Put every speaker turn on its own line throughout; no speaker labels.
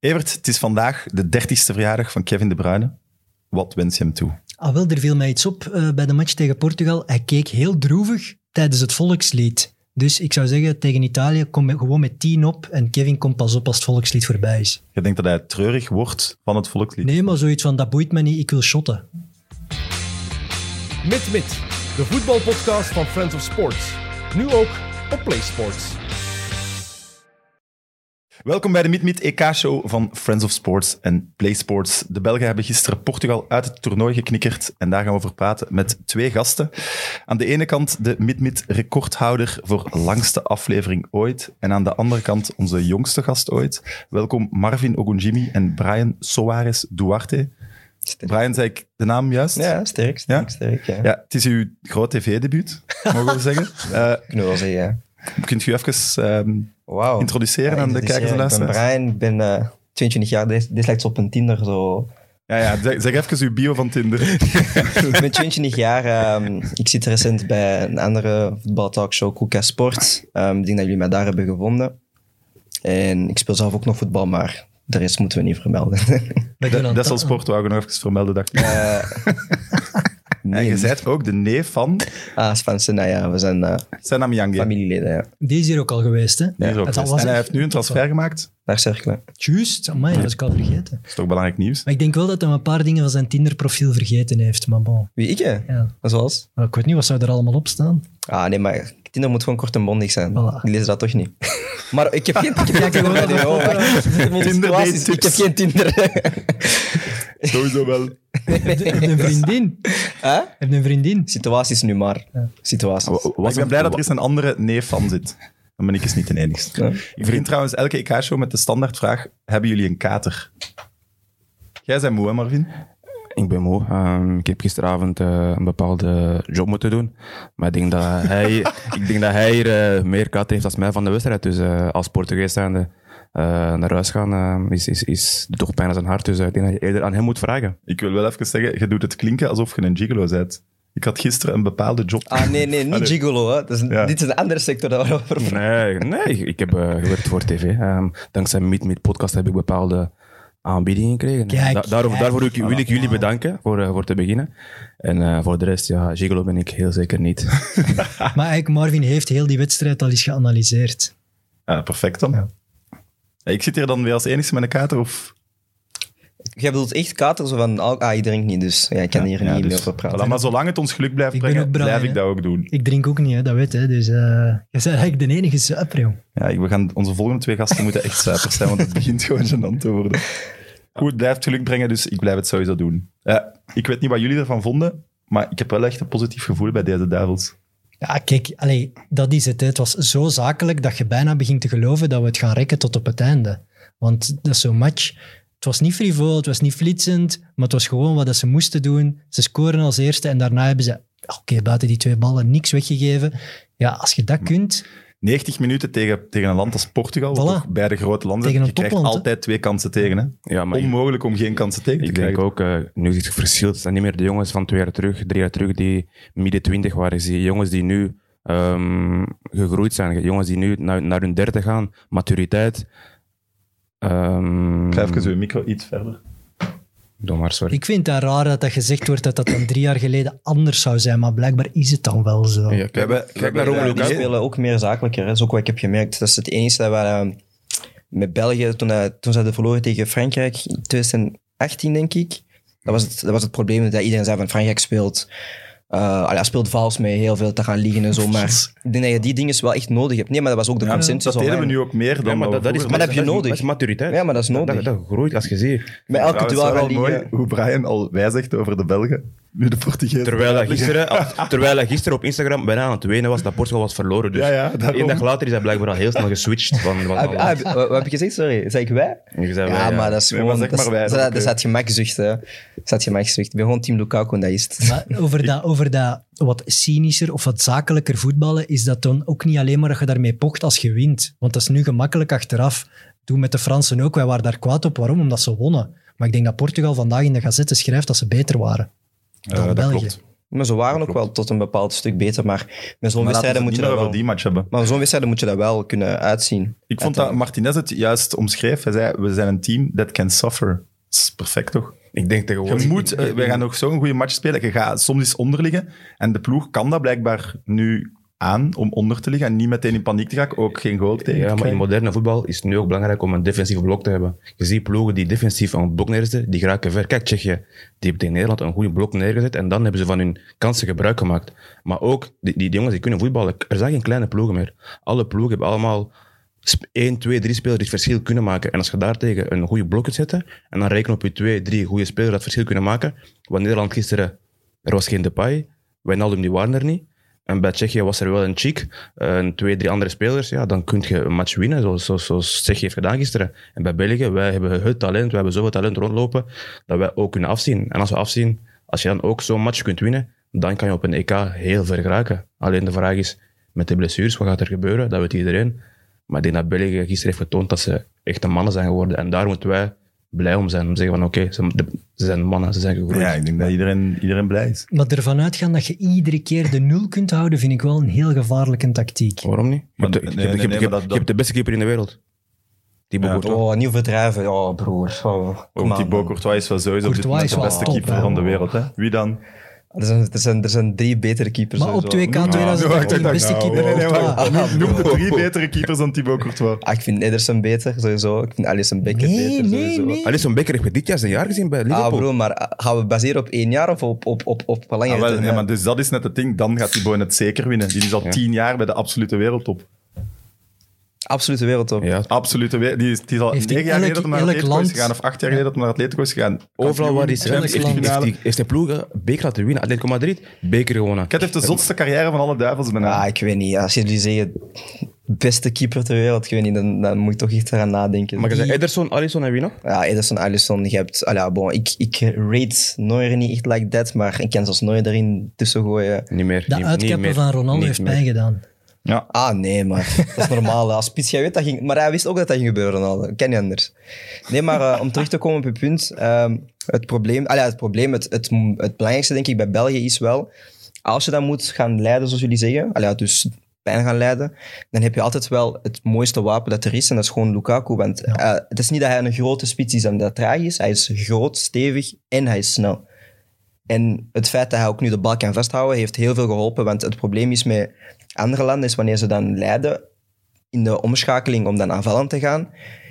Evert, het is vandaag de 30ste verjaardag van Kevin De Bruyne. Wat wens je hem toe?
Ah, wel, er viel mij iets op eh, bij de match tegen Portugal. Hij keek heel droevig tijdens het volkslied. Dus ik zou zeggen, tegen Italië, kom met- gewoon met 10 op en Kevin komt pas op als het volkslied voorbij is.
Je denkt dat hij treurig wordt van het volkslied.
Nee, maar zoiets van, dat boeit me niet, ik wil shotten.
Mit Mit, de voetbalpodcast van Friends of Sports. Nu ook op PlaySports.
Welkom bij de Meet-Meet EK-show van Friends of Sports en Play Sports. De Belgen hebben gisteren Portugal uit het toernooi geknikkerd en daar gaan we over praten met twee gasten. Aan de ene kant de Meet-Meet recordhouder voor langste aflevering ooit en aan de andere kant onze jongste gast ooit. Welkom Marvin Ogunjimi en Brian Soares Duarte. Brian, zei ik de naam juist?
Ja, sterk, sterk,
Ja?
sterk. Ja.
Ja, het is uw groot tv-debuut, mogen we zeggen. Eh
Kunnen we wel zeggen, ja.
kunt u even ehm,
Wauw.
introduceren
Ja,
aan de
dus,
kijkers
ja,
en
Ik
luisteraars?
ben Brian, ik ben eh, 22 jaar, dit dit lijkt op een Tinder zo.
Ja, ja, zeg, zeg even uw bio van Tinder.
ik ben 22 jaar, ehm, ik zit recent bij een andere voetbaltalkshow, Koeka Sport. Ehm, ik denk dat jullie mij daar hebben gevonden. En ik speel zelf ook nog voetbal, maar de rest moeten we niet vermelden.
Wij
Dat,
kunnen aan
dat is
ta-
al sport, wou ik nog even vermelden. Dacht ik.
Eh,
en je
nee.
bent ook de neef van
Ah, Spansen, nou ja, we zijn eh,
Senam Yang.
familieleden, ja.
Die is hier ook al geweest, hè?
Die is ook
Het
best.
was
en hij
echt-
heeft nu een transfer gemaakt.
Daar cirkelen.
Juist, amai, dat was ik al vergeten.
Dat is toch belangrijk nieuws?
Maar ik denk wel dat hij een paar dingen van zijn Tinder-profiel vergeten heeft, maar bon.
Wie, ik? hè?
Ja.
Zoals?
Maar ik weet niet, wat zou er allemaal op staan?
Ah, nee, maar Tinder moet gewoon kort en bondig zijn.
Voilà.
Die lezen dat toch niet. Maar ik heb geen, ik heb geen Tinder bij de oh, wacht.
Tinder
Situaties,
date
Ik heb
tips.
geen Tinder.
Sowieso wel.
Heb je heb je een vriendin?
Huh?
Heb je een vriendin?
Situaties nu maar. Situaties.
ik ben blij dat er eens een andere neef van zit. Dan ben ik eens niet de enigste.
Ja.
Ik begin trouwens elke EK-show met de standaardvraag: Hebben jullie een kater? Jij bent moe, hè, Marvin?
Ik ben moe. Ehm, ik heb gisteravond eh, een bepaalde job moeten doen. Maar ik denk dat hij, ik denk dat hij hier eh, meer kat heeft dan mij van de wedstrijd. Dus eh, als Portugees zijnde eh, naar huis gaan, eh, is, is, is toch pijn aan zijn hart. Dus eh, ik denk dat je eerder aan hem moet vragen.
Ik wil wel even zeggen: je doet het klinken alsof je een gigolo bent. Ik had gisteren een bepaalde job.
Ah, nee, nee, niet
Allee.
gigolo. Hè. Dat is,
Ja.
Dit is een andere sector dat we over praten.
Nee, nee ik heb eh, gewerkt voor tv. Ehm, dankzij Meet Meet Podcast heb ik bepaalde aanbiedingen gekregen.
Kijk,
Da- daarover,
kijk.
daarvoor wil ik, wil ik jullie bedanken voor, eh, voor te beginnen. En eh, voor de rest, ja, Gigolo ben ik heel zeker niet.
Maar eigenlijk, Marvin heeft heel die wedstrijd al eens geanalyseerd.
Ah, perfect dan.
Ja.
Ja, ik zit hier dan weer als enigste met een kater. Of...
Jij bedoelt echt kater zo van, al- ah, je drinkt niet, dus ja, ik kan hier
Ja,
niet
dus-
meer over praten.
Voilà, maar zolang het ons geluk blijft
Ik ben
brengen,
ook Brian,
blijf ik
hè.
dat ook doen.
Ik drink ook niet, hè, dat weet hè. Dus eh je bent eigenlijk de enige zuiper, jong.
Ja, ik- we gaan, onze volgende twee gasten moeten echt zuipers zijn, want het begint gewoon gênant te worden. Goed, het blijft geluk brengen, dus ik blijf het sowieso doen. Eh, ik weet niet wat jullie ervan vonden, maar ik heb wel echt een positief gevoel bij deze duivels.
Ja, kijk, allee, dat is het. hè. Het was zo zakelijk dat je bijna begint te geloven dat we het gaan rekken tot op het einde. Want dat is zo'n match. Het was niet frivol, het was niet flitsend, maar het was gewoon wat dat ze moesten doen. Ze scoren als eerste en daarna hebben ze, ah, oké, buiten die twee ballen, niks weggegeven. Ja, als je dat kunt,
90 minuten tegen, tegen een land als Portugal, wat
Voilà.
toch beide grote landen,
Tegen een
je krijgt
topland, hè?
altijd twee kansen tegen. Hè?
Ja, maar ik-
Onmogelijk om geen kansen tegen te
Ik
krijgen.
denk ook, eh, nu is het verschil. Het zijn niet meer de jongens van twee jaar terug, drie jaar terug, die midden twintig waren. Zie jongens die nu ehm, gegroeid zijn. Jongens die nu naar, naar hun derde gaan. Maturiteit. Ehm
Ik ga even uw micro iets verder.
Doe maar, sorry.
Ik vind het raar dat dat gezegd wordt dat dat dan drie jaar geleden anders zou zijn, maar blijkbaar is het dan wel zo.
Ja,
We hebben- we hebben-
Ja, die
Lukaku.
spelen ook meer zakelijker. hè. Dat is ook wat ik heb gemerkt. Dat is het enige dat we eh, met België, toen, eh, toen ze hadden verloren tegen Frankrijk in 2018, denk ik. Dat was het, dat was het probleem dat iedereen zei van Frankrijk speelt. eh allee, hij speelt vals mee, heel veel te gaan liggen en zo. Maar ik denk dat je die dingen wel echt nodig hebt. Nee, maar dat was ook de consensus.
dat deden we
online.
nu ook meer dan
Ja, maar
we
dat, dat is,
vroeger
Maar dat heb je
is-
nodig.
Dat is maturiteit.
Ja, maar dat is nodig.
Dat, dat groeit als je ziet.
Met elke
Trouwens,
duel
wel
gaan
mooi
liggen.
hoe Brian al wijzigt over de Belgen, nu de Portugees.
Terwijl hij gisteren, af- terwijl hij gisteren op Instagram bijna aan het wenen was dat Portugal was verloren. Dus
Ja, ja, daarom.
één dag later is hij blijkbaar al heel snel geswitcht. Van, van,
Ah, ah, wat, wat heb je gezegd? Sorry, zeg ik wij?
Ik zei wij,
ja,
ja.
maar dat is
Nee,
gewoon...
maar zeg
dat, is-
maar wij, dat
dat,
is
dat,
oké.
is uit gemakzucht, hè. Dat is uit gemakzucht. Ik ben gewoon team Lukaku en dat is het.
Maar over, dat, over dat wat cynischer of wat zakelijker voetballen is dat dan ook niet alleen maar dat je daarmee pocht als je wint. Want dat is nu gemakkelijk achteraf. Doe met de Fransen ook. Wij waren daar kwaad op. Waarom? Omdat ze wonnen. Maar ik denk dat Portugal vandaag in de gazette schrijft dat ze beter waren.
Eh,
dan
dat
België.
klopt.
Maar ze waren ook wel tot een bepaald stuk beter. Maar met zo'n
Maar laten we het
wedstrijd moet
niet
je
meer
dat
over
wel...
die match hebben.
Maar met zo'n wedstrijd moet je dat wel kunnen uitzien.
Ik vond dat Martinez het juist omschreef. Hij zei, we zijn een team that can suffer. Dat is perfect, toch?
Ik denk tegenwoordig...
Je moet, eh, wij gaan nog zo'n goede match spelen. Je gaat soms eens onderliggen. En de ploeg kan dat blijkbaar nu aan om onder te liggen en niet meteen in paniek te raken. Ook geen goal tegen.
Ja,
te
maar in
krijgen.
moderne voetbal is het nu ook belangrijk om een defensief blok te hebben. Je ziet ploegen die defensief een blok neerzetten, die geraken ver. Kijk, Tsjechië, die hebben tegen Nederland een goede blok neergezet en dan hebben ze van hun kansen gebruik gemaakt. Maar ook, die, die, die jongens die kunnen voetballen, er zijn geen kleine ploegen meer. Alle ploegen hebben allemaal sp- één, twee, drie spelers die het verschil kunnen maken. En als je daartegen een goede blok kunt zetten en dan rekenen op je twee, drie goede spelers dat verschil kunnen maken, want Nederland gisteren, er was geen Depay, Wijnaldum die waren er niet. En bij Tsjechië was er wel een chic, en twee, drie andere spelers. Ja, dan kun je een match winnen, zoals, zoals, zoals Tsjechië heeft gedaan gisteren. En bij België, wij hebben het talent, wij hebben zoveel talent rondlopen, dat wij ook kunnen afzien. En als we afzien, als je dan ook zo'n match kunt winnen, dan kan je op een EK heel ver geraken. Alleen de vraag is, met de blessures, wat gaat er gebeuren? Dat weet iedereen. Maar ik denk dat België gisteren heeft getoond dat ze echte mannen zijn geworden. En daar moeten wij blij om zijn. Om te zeggen van, oké, ze, de- ze zijn mannen, ze zijn gegroeid.
ja, ik denk dat iedereen, iedereen blij is.
Maar ervan uitgaan dat je iedere keer de nul kunt houden, vind ik wel een heel gevaarlijke tactiek.
Oh,
Waarom niet? Je
Maar
hebt de-
nee,
je
nee,
hebt- je
nee,
hebt-
maar dat-
je hebt de beste keeper in de wereld. Die behoort toch?
Oh, niet overdrijven. Oh, broer. Oh, kom
Ook die
aan,
Bo
man.
Courtois is wel sowieso op dit
Courtois
moment
is
de
wel
beste
top,
keeper
hè.
van de wereld. Hè? Wie dan?
Er zijn, er, zijn, er zijn drie betere keepers.
Maar op
sowieso.
2K
Ah,
Nou, ik
2018,
denk dat-
beste keeper.
Nee, nee, nee,
Courtois.
wacht. Noem- Noem de drie betere keepers dan Thibaut Courtois.
Ah, ik vind Ederson beter, sowieso. Ik vind Alisson Becker
Nee,
beter,
nee,
sowieso.
nee.
Alisson Becker heeft dit jaar zijn jaar gezien bij
Ah,
Liverpool.
bro, maar ah, gaan we baseren op één jaar of op, op, op, op langere
Ah, wel, ja,
termijn?
maar dus dat is net het ding. Dan gaat Thibaut het zeker winnen. Die is al tien jaar bij de absolute wereldtop.
Absolute wereldtop.
ja,
Absolute we- Die is, die is al
Heeft hij
negen jaar geleden dat
elk-
hij naar
elk
Atletico is
land-
gegaan. Of acht jaar geleden dat hij naar Atletico is gegaan.
overal waar hij is,
Kampioen,
elk
heeft,
land.
heeft, heeft,
finale.
die- heeft zijn ploegen Beker laten winnen. Atletico Madrid, Beker gewonnen.
Ket heeft de zotste carrière van alle duivels bijna.
Ah, ik weet niet. Als jullie zeggen beste keeper ter wereld, ik weet niet, dan, dan moet ik toch echt eraan nadenken.
Maar je zei
Die-
Ederson, Alisson en wie nog?
Ja, Ederson, Alisson, je hebt... ah ja, bon, ik, ik rate Neuer niet echt like that, maar ik kan zelfs Neuer erin tussen gooien.
Niet meer.
Dat
niet, niet meer,
uitkappen van Ronaldo
niet
heeft
meer.
pijn gedaan.
ja.
Ah, nee, maar dat is normaal. hè. Als spits, jij weet dat ging... Maar hij wist ook dat dat ging gebeuren, Ronaldo. Kan niet anders. Nee, maar eh, om terug te komen op je punt. ehm, het probleem... ah ja, het probleem, het, het, het belangrijkste denk ik bij België is wel... Als je dan moet gaan leiden, zoals jullie zeggen... ah ja, dus pijn gaan leiden, dan heb je altijd wel het mooiste wapen dat er is. En dat is gewoon Lukaku. Want eh, het is niet dat hij een grote spits is en dat traag is. Hij is groot, stevig en hij is snel. En het feit dat hij ook nu de bal kan vasthouden, heeft heel veel geholpen. Want het probleem is met andere landen, is wanneer ze dan leiden in de omschakeling om dan aanvallend te gaan,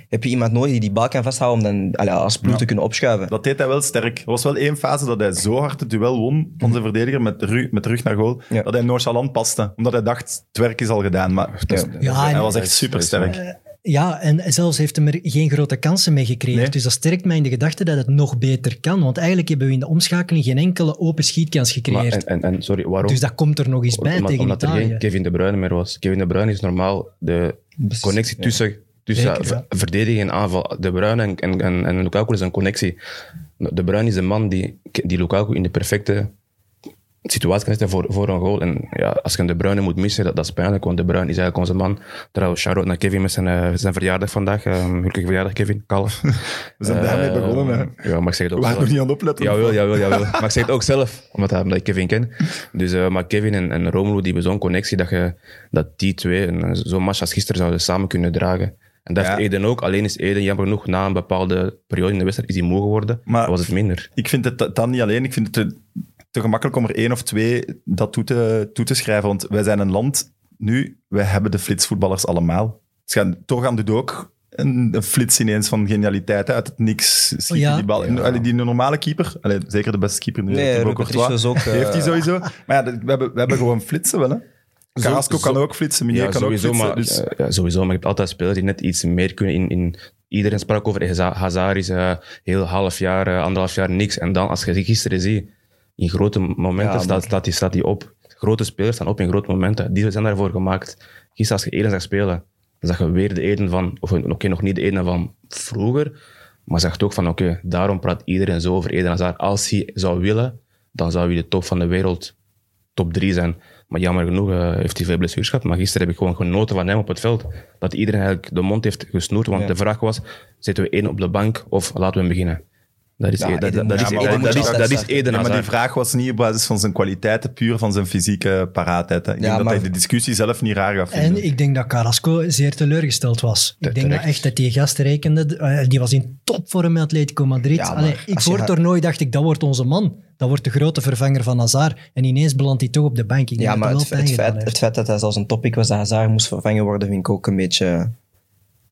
heb je iemand nodig die die bal kan vasthouden om dan allee, als ploeg te kunnen opschuiven.
Dat deed hij wel sterk. Er was wel één fase dat hij zo hard het duel won van zijn verdediger met de, ru- met de rug naar goal,
Ja.
dat hij nonchalant paste. Omdat hij dacht, het werk is al gedaan. Maar dus
Dat is-
Ja,
dat is-
en-
hij was
dat
echt
is-
super
dat is-
sterk.
Ja, en zelfs heeft hem er geen grote kansen mee gecreëerd.
Nee.
Dus dat sterkt mij in de gedachte dat het nog beter kan. Want eigenlijk hebben we in de omschakeling geen enkele open schietkans
Maar
gecreëerd.
en, en, en sorry, waarom?
dus dat komt er nog
Oh,
eens bij
omdat,
tegen
omdat er
Italië.
geen Kevin De Bruyne meer was. Kevin De Bruyne is normaal de connectie tussen, tussen
Zeker, ja.
v- verdedigen en aanval. De Bruyne en, en, en, en Lukaku is een connectie. De Bruyne is de man die, die Lukaku in de perfecte situatie kan zetten voor, voor een goal. En ja, als je een De Bruyne moet missen, dat, dat is pijnlijk, want De Bruyne is eigenlijk onze man. Trouwens, shout-out naar Kevin met zijn, eh, zijn verjaardag vandaag. Eh, Gelukkige verjaardag, Kevin. Kalf.
We zijn daarmee
Eh,
begonnen. hè.
Ja, maar ik zeg het
We
ook
waren
zelf.
nog niet aan het opletten.
Jawel, jawel, jawel. Maar ik zeg het ook zelf, omdat, hij- omdat ik Kevin ken. Dus, eh, maar Kevin en, en Romelu, die hebben zo'n connectie dat, je, dat die twee een- een- zo'n match als gisteren zouden samen kunnen dragen. En dat
Ja.
heeft Eden ook. Alleen is Eden, jammer genoeg, na een bepaalde periode in de wedstrijd, is hij moe geworden.
Maar-
dat was het minder.
Ik vind het dan niet alleen. Ik vind het te, te gemakkelijk om er één of twee dat toe te, toe te schrijven. Want wij zijn een land nu, wij hebben de flitsvoetballers allemaal. Ze gaan, toch aan de ook een, een flits ineens van genialiteit hè, uit het niks. Schiet
Oh
Ja.
die, die bal. En, allee, die normale keeper, allee, zeker de beste keeper in de
Nee,
wereld, Thibaut
Ruben
Courtois,
Patricio is ook, eh,
heeft hij sowieso. Maar ja, dat- we hebben, we hebben gewoon flitsen wel. Hè. Carrasco
zo-
kan ook flitsen, Meneer kan ook flitsen.
maar,
dus,
eh, ja, sowieso, maar je hebt altijd spelers die net iets meer kunnen in... in Iedereen sprak over Haza- Hazard is eh, heel half jaar, eh, anderhalf jaar niks. En dan, als je die gisteren ziet, in grote momenten
Ja,
staat, staat, die, staat die op. Grote spelers staan op in grote momenten. Die zijn daarvoor gemaakt. Gisteren, als je Eden zag spelen, dan zag je weer de Eden van... Of oké, nog niet de Eden van vroeger. Maar zag toch van, oké, daarom praat iedereen zo over Eden Hazard. Als hij zou willen, dan zou hij de top van de wereld top 3 zijn. Maar jammer genoeg eh, heeft hij veel blessures gehad. Maar gisteren heb ik gewoon genoten van hem op het veld. Dat iedereen eigenlijk de mond heeft gesnoerd. Want de vraag was, zetten we één op de bank of laten we hem beginnen? Dat is
Ja,
Eden-
Eden-
dat- dat
ja,
is-
maar
dat-
Eden
dat
moet
is-
altijd
dat is
starten.
Eden
Ja, maar die
Hazard.
vraag was niet op basis van zijn kwaliteiten, puur van zijn fysieke paraatheid. Hè. Ik denk dat
maar-
hij de discussie zelf niet raar gaat vinden.
En ik denk dat Carrasco zeer teleurgesteld was.
Te-
ik denk dat
terecht.
echt dat die gast rekende. eh, Die was in topvorm met Atletico Madrid.
Ja, maar
Allee,
als
ik
je
voor het
haar-
toernooi dacht ik, dat wordt onze man. Dat wordt de grote vervanger van Hazard. En ineens belandt hij toch op de bank. Ik denk
Ja,
dat
maar
dat
het,
wel
het,
pijn gedaan
feit,
heeft.
het feit dat dat zelfs een topic was dat Hazard moest vervangen worden, vind ik ook een beetje...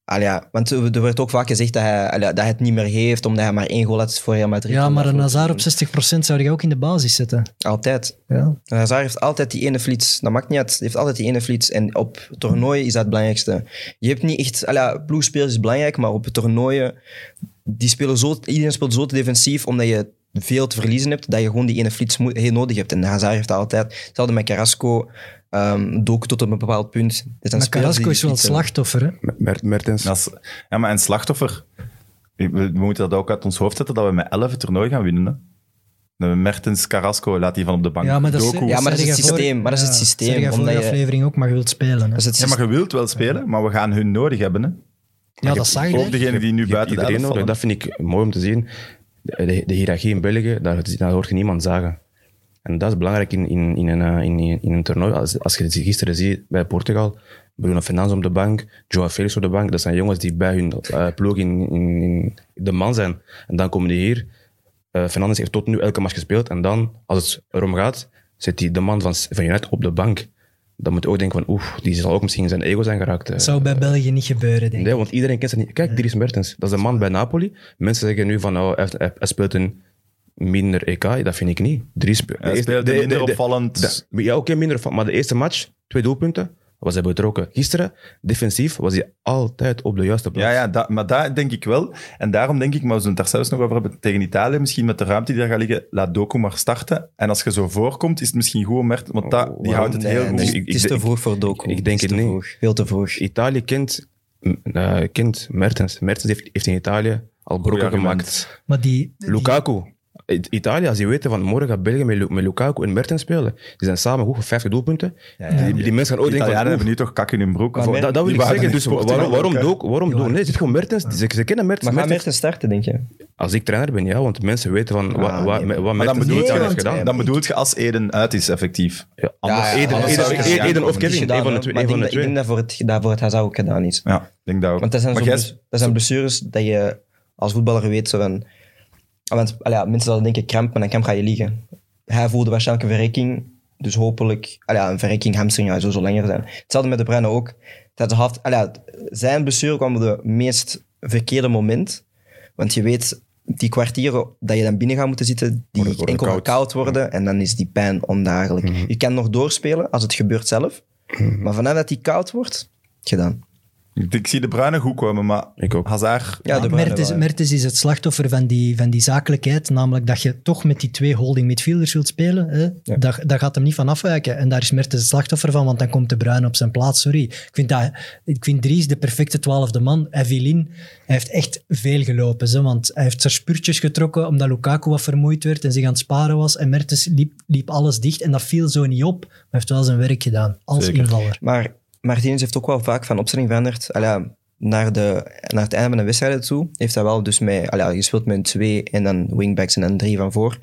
Al ja, want er werd ook vaak gezegd dat hij, allee, dat hij het niet meer heeft, omdat hij maar één goal had voor Real Madrid.
ja, maar een
Daarvoor-
Hazard op 60% zou je ook in de basis zetten.
Altijd.
Ja.
En Hazard heeft altijd die ene flits. Dat maakt niet uit. Hij heeft altijd die ene flits. En op toernooi is dat het belangrijkste. Je hebt niet echt... Alla, ploegspelers is belangrijk, maar op het toernooien... Die spelen zo, iedereen speelt zo te defensief, omdat je veel te verliezen hebt, dat je gewoon die ene flits moet, heel nodig hebt. En Hazard heeft dat altijd... Hetzelfde met Carrasco. ehm dook tot op een bepaald punt. Dus dan
Maar
spelers die
Carrasco is wel het
flitsen.
slachtoffer. Hè?
Mer- Mertens.
Dat is- ja, maar een slachtoffer. We, we moeten dat ook uit ons hoofd zetten dat we met 11 het toernooi gaan winnen. Hè. Dat we Mertens, Carrasco, laat die van op de bank.
Ja, maar dat is,
Doku.
Ja, maar dat is
zei
het
jij voor-
systeem, maar dat is het
ja,
systeem,
zei jij voor
omdat
de
je-
aflevering ook, maar je wilt spelen. Hè?
Dat is Dus het
Ja, maar je wilt wel spelen, maar we gaan hun nodig hebben. Hè.
Ja, dat zag
Ook
ik.
degene die nu
Je hebt
buiten de elf
iedereen nodig.
vallen.
Dat vind ik mooi om te zien. De, de, de hiërarchie in België, daar, daar hoort je niemand zagen. En dat is belangrijk in, in, in, een, eh, in, in in een toernooi. Als, als je het gisteren ziet bij Portugal, Bruno Fernandes op de bank, Joao Felix op de bank. Dat zijn jongens die bij hun eh, ploeg in, in, in de man zijn. En dan komen die hier. Eh Fernandes heeft tot nu elke match gespeeld. En dan, als het erom gaat, zit die de man van, van United op de bank. Dan moet je ook denken van, oeh, die zal ook misschien in zijn ego zijn geraakt. eh.
Dat zou bij België niet gebeuren, denk ik.
Nee, want iedereen kent ze niet. Kijk, Dries Mertens, dat is een man bij Napoli. Mensen zeggen nu van, oh, hij, hij- hij speelt een minder EK. Dat vind ik niet. Dries spe-
Hij
de eerste-
speelde
de- de-
minder
de-
opvallend.
de- ja, oké, minder opvallend. Maar de eerste match, twee doelpunten, was hij betrokken. Gisteren, defensief, was hij altijd op de juiste plaats.
Ja, ja dat- maar daar denk ik wel. En daarom denk ik, maar we zullen het daar zelfs nog over hebben, tegen Italië misschien, met de ruimte die daar gaat liggen, laat Doku maar starten. En als je zo voorkomt, is het misschien goed om Mertens, want dat, die
Oh,
houdt het
Nee,
heel
nee,
goed.
het is-
Ik- ik-
het is
ik-
te vroeg voor Doku.
ik denk
is
het
te
niet.
vroeg. Veel te vroeg.
Italië kent, eh, kent Mertens. Mertens heeft, heeft in Italië al brokken
argument.
gemaakt.
Maar die, die-
Lukaku. I- Italië, als die weten van morgen gaat België met, Lu- met Lukaku en Mertens spelen. Die zijn samen goed voor 50 doelpunten. Die, die mensen gaan
De
ook denken van,
Italianen
oeh,
hebben nu toch kak in hun broek.
Maar
Voor- dat, dat wil
Die
ik
waren
zeggen.
in
Dus
Portugal
waarom, waarom
ook, hè?
doe ik- Waarom doe ik- Nee, het is gewoon Mertens. Ze, ze kennen Mertens.
Maar gaat
Mertens-
Mertens starten, denk je?
Als ik trainer ben, ja, want mensen weten van wa- wa-
Ah,
wat,
nee.
Maar dan
Mertens
bedoel,
dit jaar
je,
heeft
want-
gedaan.
ja,
dan bedoel je als Eden uit is, effectief.
Ja.
Anders-
ja,
Eden,
anders
Eden,
zou ik
Eden,
het gedaan
Eden of
hebben.
Kevin.
Het is
Een van
gedaan,
de twee.
hè.
een
Maar ik
van de
denk,
twee.
dat- ik denk dat voor, het, dat voor het Hazard ook gedaan is.
Ja, ik denk dat ook.
Want dat zijn,
maar
zo'n
jij-
bless- dat zijn blessures dat je als voetballer weet. Zo van, Ah, want allee, ja, mensen zouden denken kramp, maar dan kramp ga je liggen. Hij voelde waarschijnlijk een verrekking. Dus hopelijk... allee, ja, een verrekking, hamstring, ja, zo zal langer zijn. Hetzelfde met De Bruyne ook. Dat de half, allee, ja, zijn blessure kwam op het meest verkeerde moment. Want je weet, die kwartieren dat je dan binnen gaat moeten zitten, die
Worden- worden
enkel maar
koud. Mhm.
koud worden. En dan is die pijn ondraaglijk. Je kan nog doorspelen als het gebeurt zelf. Maar vanaf dat die koud wordt, gedaan.
ik, ik zie de bruine goed komen, maar
Ik ook.
Hazard...
Ja, de Bruyne
Mertens,
wel, ja.
Mertens is het slachtoffer van die, van die zakelijkheid. Namelijk dat je toch met die twee holding midfielders wilt spelen. Hè? Daar, daar gaat hem niet van afwijken. En daar is Mertens het slachtoffer van, want dan komt de Bruin op zijn plaats. Sorry. Ik vind, dat, ik vind Dries de perfecte twaalfde man. Hij viel in. Hij heeft echt veel gelopen. Hè? Want hij heeft zijn spurtjes getrokken omdat Lukaku wat vermoeid werd en zich aan het sparen was. En Mertens liep, liep alles dicht en dat viel zo niet op. Maar hij heeft wel zijn werk gedaan als
Zeker.
invaller.
Maar Martinez heeft ook wel vaak van opstelling veranderd. Allee, ja, naar, de, naar het einde van de wedstrijd toe heeft hij wel dus met, allee, ja, je speelt met een twee en dan wingbacks en dan drie van voor.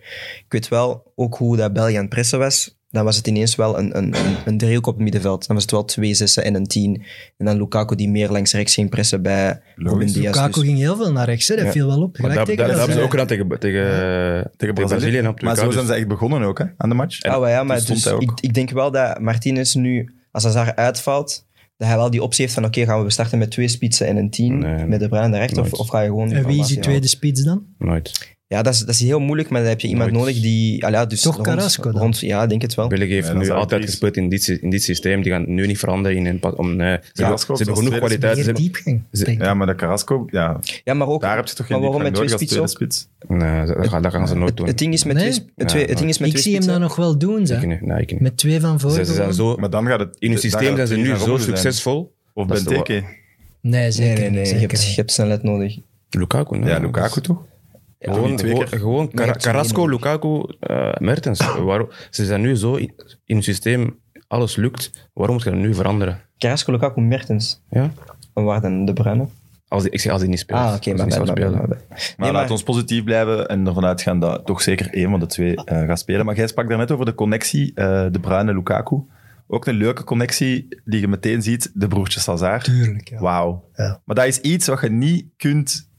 Ik weet wel ook hoe dat België aan het pressen was. Dan was het ineens wel een, een, een, een driehoek op het middenveld. Dan was het wel twee zessen en een tien. En dan Lukaku die meer langs rechts ging pressen bij Ruben Diaz.
Lukaku
Dus-
ging heel veel naar rechts. Hè? Dat
Ja.
viel wel op.
Maar
Gelijk
Dat dat-
tegen
dat hebben ze
Brazilië.
ook gedaan tegen, tegen, tegen Brazilië. en op
Maar zo
WK,
zijn
dus-
ze echt begonnen ook, hè, aan de match.
Ah, maar ja, maar
toen stond
dus
hij ook.
ik, ik denk wel dat Martinez nu, als Hazard uitvalt, dat hij wel die optie heeft van oké, gaan we starten met twee spitsen en een tien,
Nee, nee.
met de bruine rechter, of,
Nooit.
of ga je gewoon...
En wie is
formatie
die
houden?
tweede spits dan?
Nooit.
Ja, dat is, dat is heel moeilijk, maar dan heb je iemand
Nooit.
nodig die... ah ja, dus
Toch
rond-
Carrasco dan?
Rond, ja, ik denk het wel.
België heeft
dan
nu
zou
altijd
Dries-
gespeeld in dit, sy- in dit systeem. Die gaan nu niet veranderen. In hun pad- om, nee. Ze, hebben, ze
Glasgow
hebben
als
genoeg
tweede
kwaliteit. Ze
Meer
hebben-
diepgang.
ze-
denk ik.
Ja, maar de Carrasco, ja,
Ja, maar ook...
daar heb je toch geen
maar waarom met twee
diepgang nodig
spitsen
als
ook?
tweede spits.
Nee, dat, dat gaan- dat gaan ze nooit
Het,
doen.
het ding is met
Nee?
twee, het
Ja,
twee- het ding is met
Ik
twee
zie hem dat
spitsen.
nog wel doen,
Ik
zeg.
niet, nee, ik niet.
Met twee van
Ze
voren.
ze zijn
gewoon.
zo...
Maar dan gaat het... daar
In hun
gaat
systeem zijn
het
ze
weer
nu
naar
zo
Robben zijn.
succesvol.
Of
Dat is de wa-
Benteke.
Nee,
Nee,
zeker
nee, nee.
niet,
Je hebt,
zeker
je hebt snelheid nodig.
Lukaku. nee.
Ja, Lukaku toch?
Gewoon,
twee
gewoon,
keer.
gewoon Car-
je hebt
Carrasco,
twee
Lukaku, eh, Mertens. Waarom, ze zijn nu zo in, in het systeem, alles lukt. Waarom moet je dat nu veranderen?
Carrasco, Lukaku, Mertens.
Ja?
En waar dan de bruine?
Als die, ik zeg als hij niet speelt.
Ah, oké,
Als die
maar,
niet zou
maar, maar,
spelen.
maar- maar-
Maar,
Nee, maar-
laat ons positief blijven en ervan uitgaan dat toch zeker één van de twee eh, gaat spelen. Maar jij sprak daarnet over de connectie, eh, De Bruyne en Lukaku. Ook een leuke connectie die je meteen ziet, de broertjes Hazard.
Tuurlijk, ja.
Wauw.
Ja.
Maar dat is iets wat je niet kunt...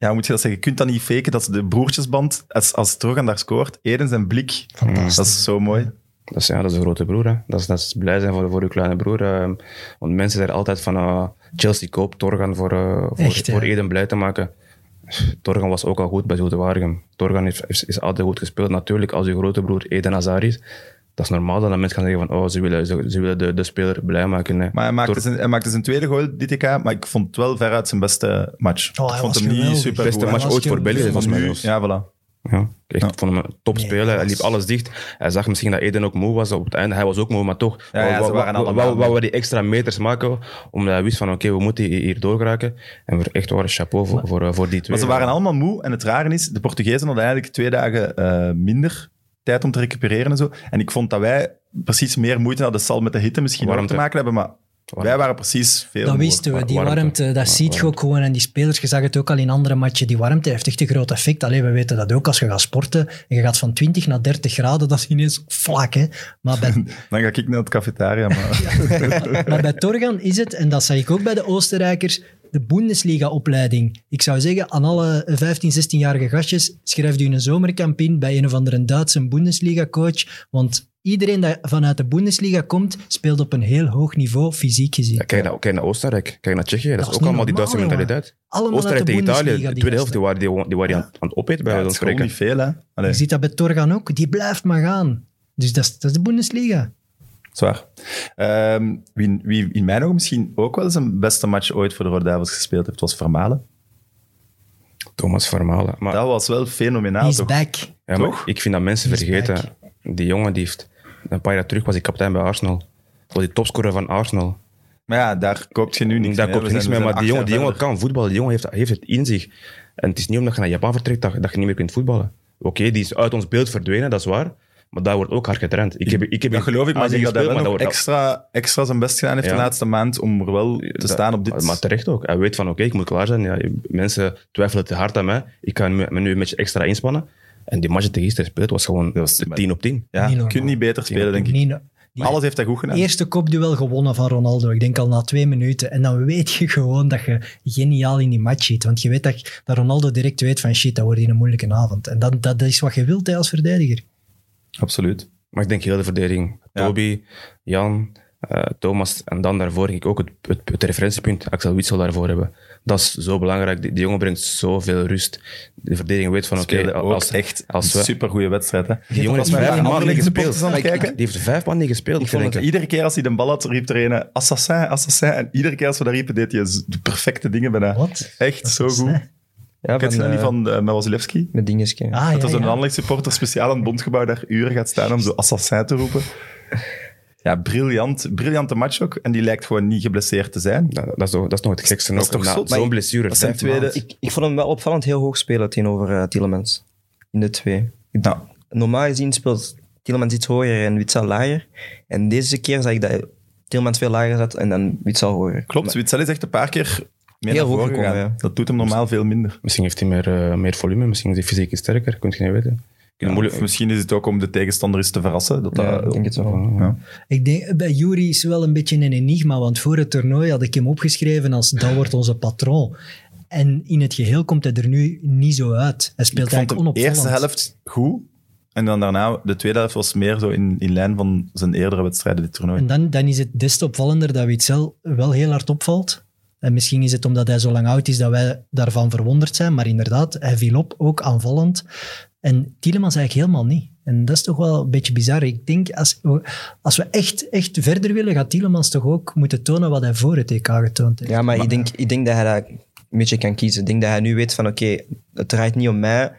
Ja, hoe moet je dat zeggen? Je kunt dat niet faken, dat is de broertjesband. Als, als Trogan daar scoort, Eden zijn blik.
Fantastisch.
Dat is zo mooi.
Dat is, ja, dat is een grote broer. Hè. Dat, is, dat is blij zijn voor, voor uw kleine broer. ehm, want mensen zijn altijd van eh, Chelsea koopt Torgan voor, eh, voor,
Echt, hè?
voor Eden blij te maken. Torgan was ook al goed bij Zulte Waregem. Torgan heeft, is, is altijd goed gespeeld. Natuurlijk, als uw grote broer Eden Hazard is, dat is normaal dat dan mensen gaan zeggen van oh, ze willen, ze, ze willen de, de speler blij maken. Hè.
Maar hij maakte,
Tor-
zijn, hij maakte zijn tweede goal, DTK, maar ik vond het wel veruit zijn beste match.
Oh,
ik
hij
vond
was
hem niet
geweldig.
super
beste
goed,
match
hè?
ooit voor België,
Ja,
volgens mij. zelfs.
Ja, voilà.
Ja, ik
Ja.
vond hem een topspeler.
Nee,
hij
dat
liep
was-
alles dicht. Hij zag misschien dat Eden ook moe was op het einde. Hij was ook moe, maar toch.
Ja, ja,
wou-
ze
wou-
waren
wou-
allemaal
wou-
moe.
wou we die extra meters maken, omdat hij wist van oké, we moeten hier hier door geraken. En voor echt waar, chapeau voor, voor, eh, voor die twee.
Maar ze waren allemaal moe. En het rare is, de Portugezen hadden eigenlijk twee dagen eh, minder tijd om te recupereren en zo. En ik vond dat wij precies meer moeite hadden. Dat zal met de hitte misschien
Warmte.
ook te maken hebben, maar
Warmte.
wij waren precies veel
Dat
moe.
wisten we, die
warmte.
warmte, dat
Ja,
ziet je ook gewoon. En die spelers, je zag het ook al in andere matchen, die warmte heeft echt een groot effect. Alleen we weten dat ook als je gaat sporten en je gaat van 20 naar 30 graden, dat is ineens vlak. Hè? Maar, bij,
Dan ga ik naar het cafetaria. Maar...
maar bij Torgan is het, en dat zag ik ook bij de Oostenrijkers, de Bundesliga-opleiding. Ik zou zeggen, aan alle 15, 16-jarige gastjes, schrijf u een zomerkamp in bij een of andere Duitse Bundesliga-coach. Want iedereen dat vanuit de Bundesliga komt, speelt op een heel hoog niveau, fysiek gezien.
Ja, kijk, naar, kijk naar Oostenrijk, kijk naar Tsjechië. Dat,
Dat
is
is
ook
niet
allemaal die
normaal,
Duitse
jongen.
mentaliteit.
Allemaal uit
Oostenrijk
de
tegen Italië,
Bundesliga,
de
die
tweede helft,
gasten.
die waren, die, die waren aan, aan het opeten bij
Ja,
ja,
het
ons
is gewoon
spreken.
niet veel, hè. Allee,
Je ziet dat bij Torgan ook. Die blijft maar gaan. Dus dat is, dat is de Bundesliga.
zwaar. Ehm, wie, wie in mijn ogen misschien ook wel zijn beste match ooit voor de Rode Duivels gespeeld heeft, was Vermalen.
Thomas Vermalen. Maar,
Dat was wel fenomenaal,
He's
toch?
back.
ja, maar
toch?
ik vind dat mensen
Die is
vergeten. Die jongen die heeft... Een paar jaar terug was hij kapitein bij Arsenal. Was hij topscorer van Arsenal.
Maar ja, daar koopt je nu niks
Daar
mee,
komt
hè. We
niks
zijn-
mee,
we
maar
zijn
die jongen,
acht
die
jaar
jongen kan voetballen. Die jongen heeft, heeft het in zich. En het is niet omdat je naar Japan vertrekt dat, dat je niet meer kunt voetballen. Oké, die is uit ons beeld verdwenen, dat is waar. Maar daar wordt ook hard getraind. Ik heb, ik heb
Dat
in
geloof ik, maar ik
Azië
denk dat hij wel
gespeeld,
nog
maar dat wordt-
extra, extra zijn best gedaan heeft
Ja.
de laatste maand om er wel te
dat-
staan op dit.
Maar terecht ook. Hij weet van, oké, ik moet klaar zijn. Ja, mensen twijfelen te hard aan mij. Ik kan me me nu een beetje extra inspannen. En die match die hij gisteren speelt was gewoon
was-
10 op 10.
ja,
Niet
je
normaal.
kunt niet beter spelen, denk ik.
Nino- die
Alles heeft hij goed gedaan.
eerste kopduel gewonnen van Ronaldo. Ik denk al na twee minuten. En dan weet je gewoon dat je geniaal in die match zit. Want je weet dat, dat Ronaldo direct weet van shit, dat wordt hier een moeilijke avond. En dat, dat is wat je wilt hè, als verdediger.
Absoluut.
Maar ik denk heel de verdediging.
Ja.
Toby, Jan, eh, Thomas en dan daarvoor ging ik ook het, het, het referentiepunt Axel Witsel daarvoor hebben. Dat is zo belangrijk. Die, die jongen brengt zoveel rust. De verdediging weet van oké,
Speelde ook
als,
echt
als
een
we,
supergoeie wedstrijd. Hè.
die jongen heeft
Als wij
vijf
naar
maanden
andere
niet
supporters aan
gespeeld.
het kijken.
Die heeft vijf maanden niet gespeeld.
Ik vond het
denk ik.
Iedere keer als hij de bal had, riep er een eh, assassin, assassin. En iedere keer als we dat riepen, deed hij z- de perfecte dingen bijna.
Wat?
Echt zo
is, hè?
goed.
Ja,
Ik het
van,
snel die
eh,
van eh, Mawazilewski.
Met dingetjes.
Ah, ja,
Dat was een
ja.
landelijk supporter speciaal aan het bondgebouw daar uren gaat staan om zo assassin te roepen. Ja, briljant. Briljante match ook. En die lijkt gewoon niet geblesseerd te zijn.
Dat, dat, is toch, dat is nog het gekste.
Dat is
ook,
toch
na
zot? Maar
Zo'n
ik-
blessure.
dat zijn
vijf
tweede-
maanden.
Ik, ik vond hem wel opvallend heel hoog spelen tegenover eh Tielemans. In de twee.
Nou,
Normaal gezien speelt Tielemans iets hoger en Witsel lager. En deze keer zag ik dat Tielemans veel lager zat en dan Witsel hoger.
Klopt, Witzel is echt een paar keer meer
Heel
naar
hoog
voren gegaan.
gekomen, ja.
Dat doet hem normaal veel minder.
Misschien heeft hij meer, eh, meer volume. Misschien is hij fysiek sterker. Kun je niet weten. Ik vind
Of
het moeilijk.
misschien is het ook om de tegenstander eens te verrassen. Dat
Ja,
dat- eh,
ik eh, denk het wel.
Ja.
Ik denk, bij Jury is wel een beetje een enigma, want voor het toernooi had ik hem opgeschreven als dat wordt onze patroon. En in het geheel komt hij er nu niet zo uit.
Ik
Hij speelt
vond
eigenlijk
de
onopvallend.
eerste helft goed. En dan daarna, de tweede helft was meer zo in, in lijn van zijn eerdere wedstrijden dit toernooi.
En dan, dan is het des te opvallender dat Witzel wel heel hard opvalt. En misschien is het omdat hij zo lang oud is dat wij daarvan verwonderd zijn. Maar inderdaad, hij viel op, ook aanvallend. En Tielemans eigenlijk helemaal niet. En dat is toch wel een beetje bizar. Ik denk, als, als we echt, echt verder willen, gaat Tielemans toch ook moeten tonen wat hij voor het EK getoond heeft.
Ja, maar, ik, denk, ik denk dat hij dat een beetje kan kiezen. Ik denk dat hij nu weet van oké, het draait niet om mij.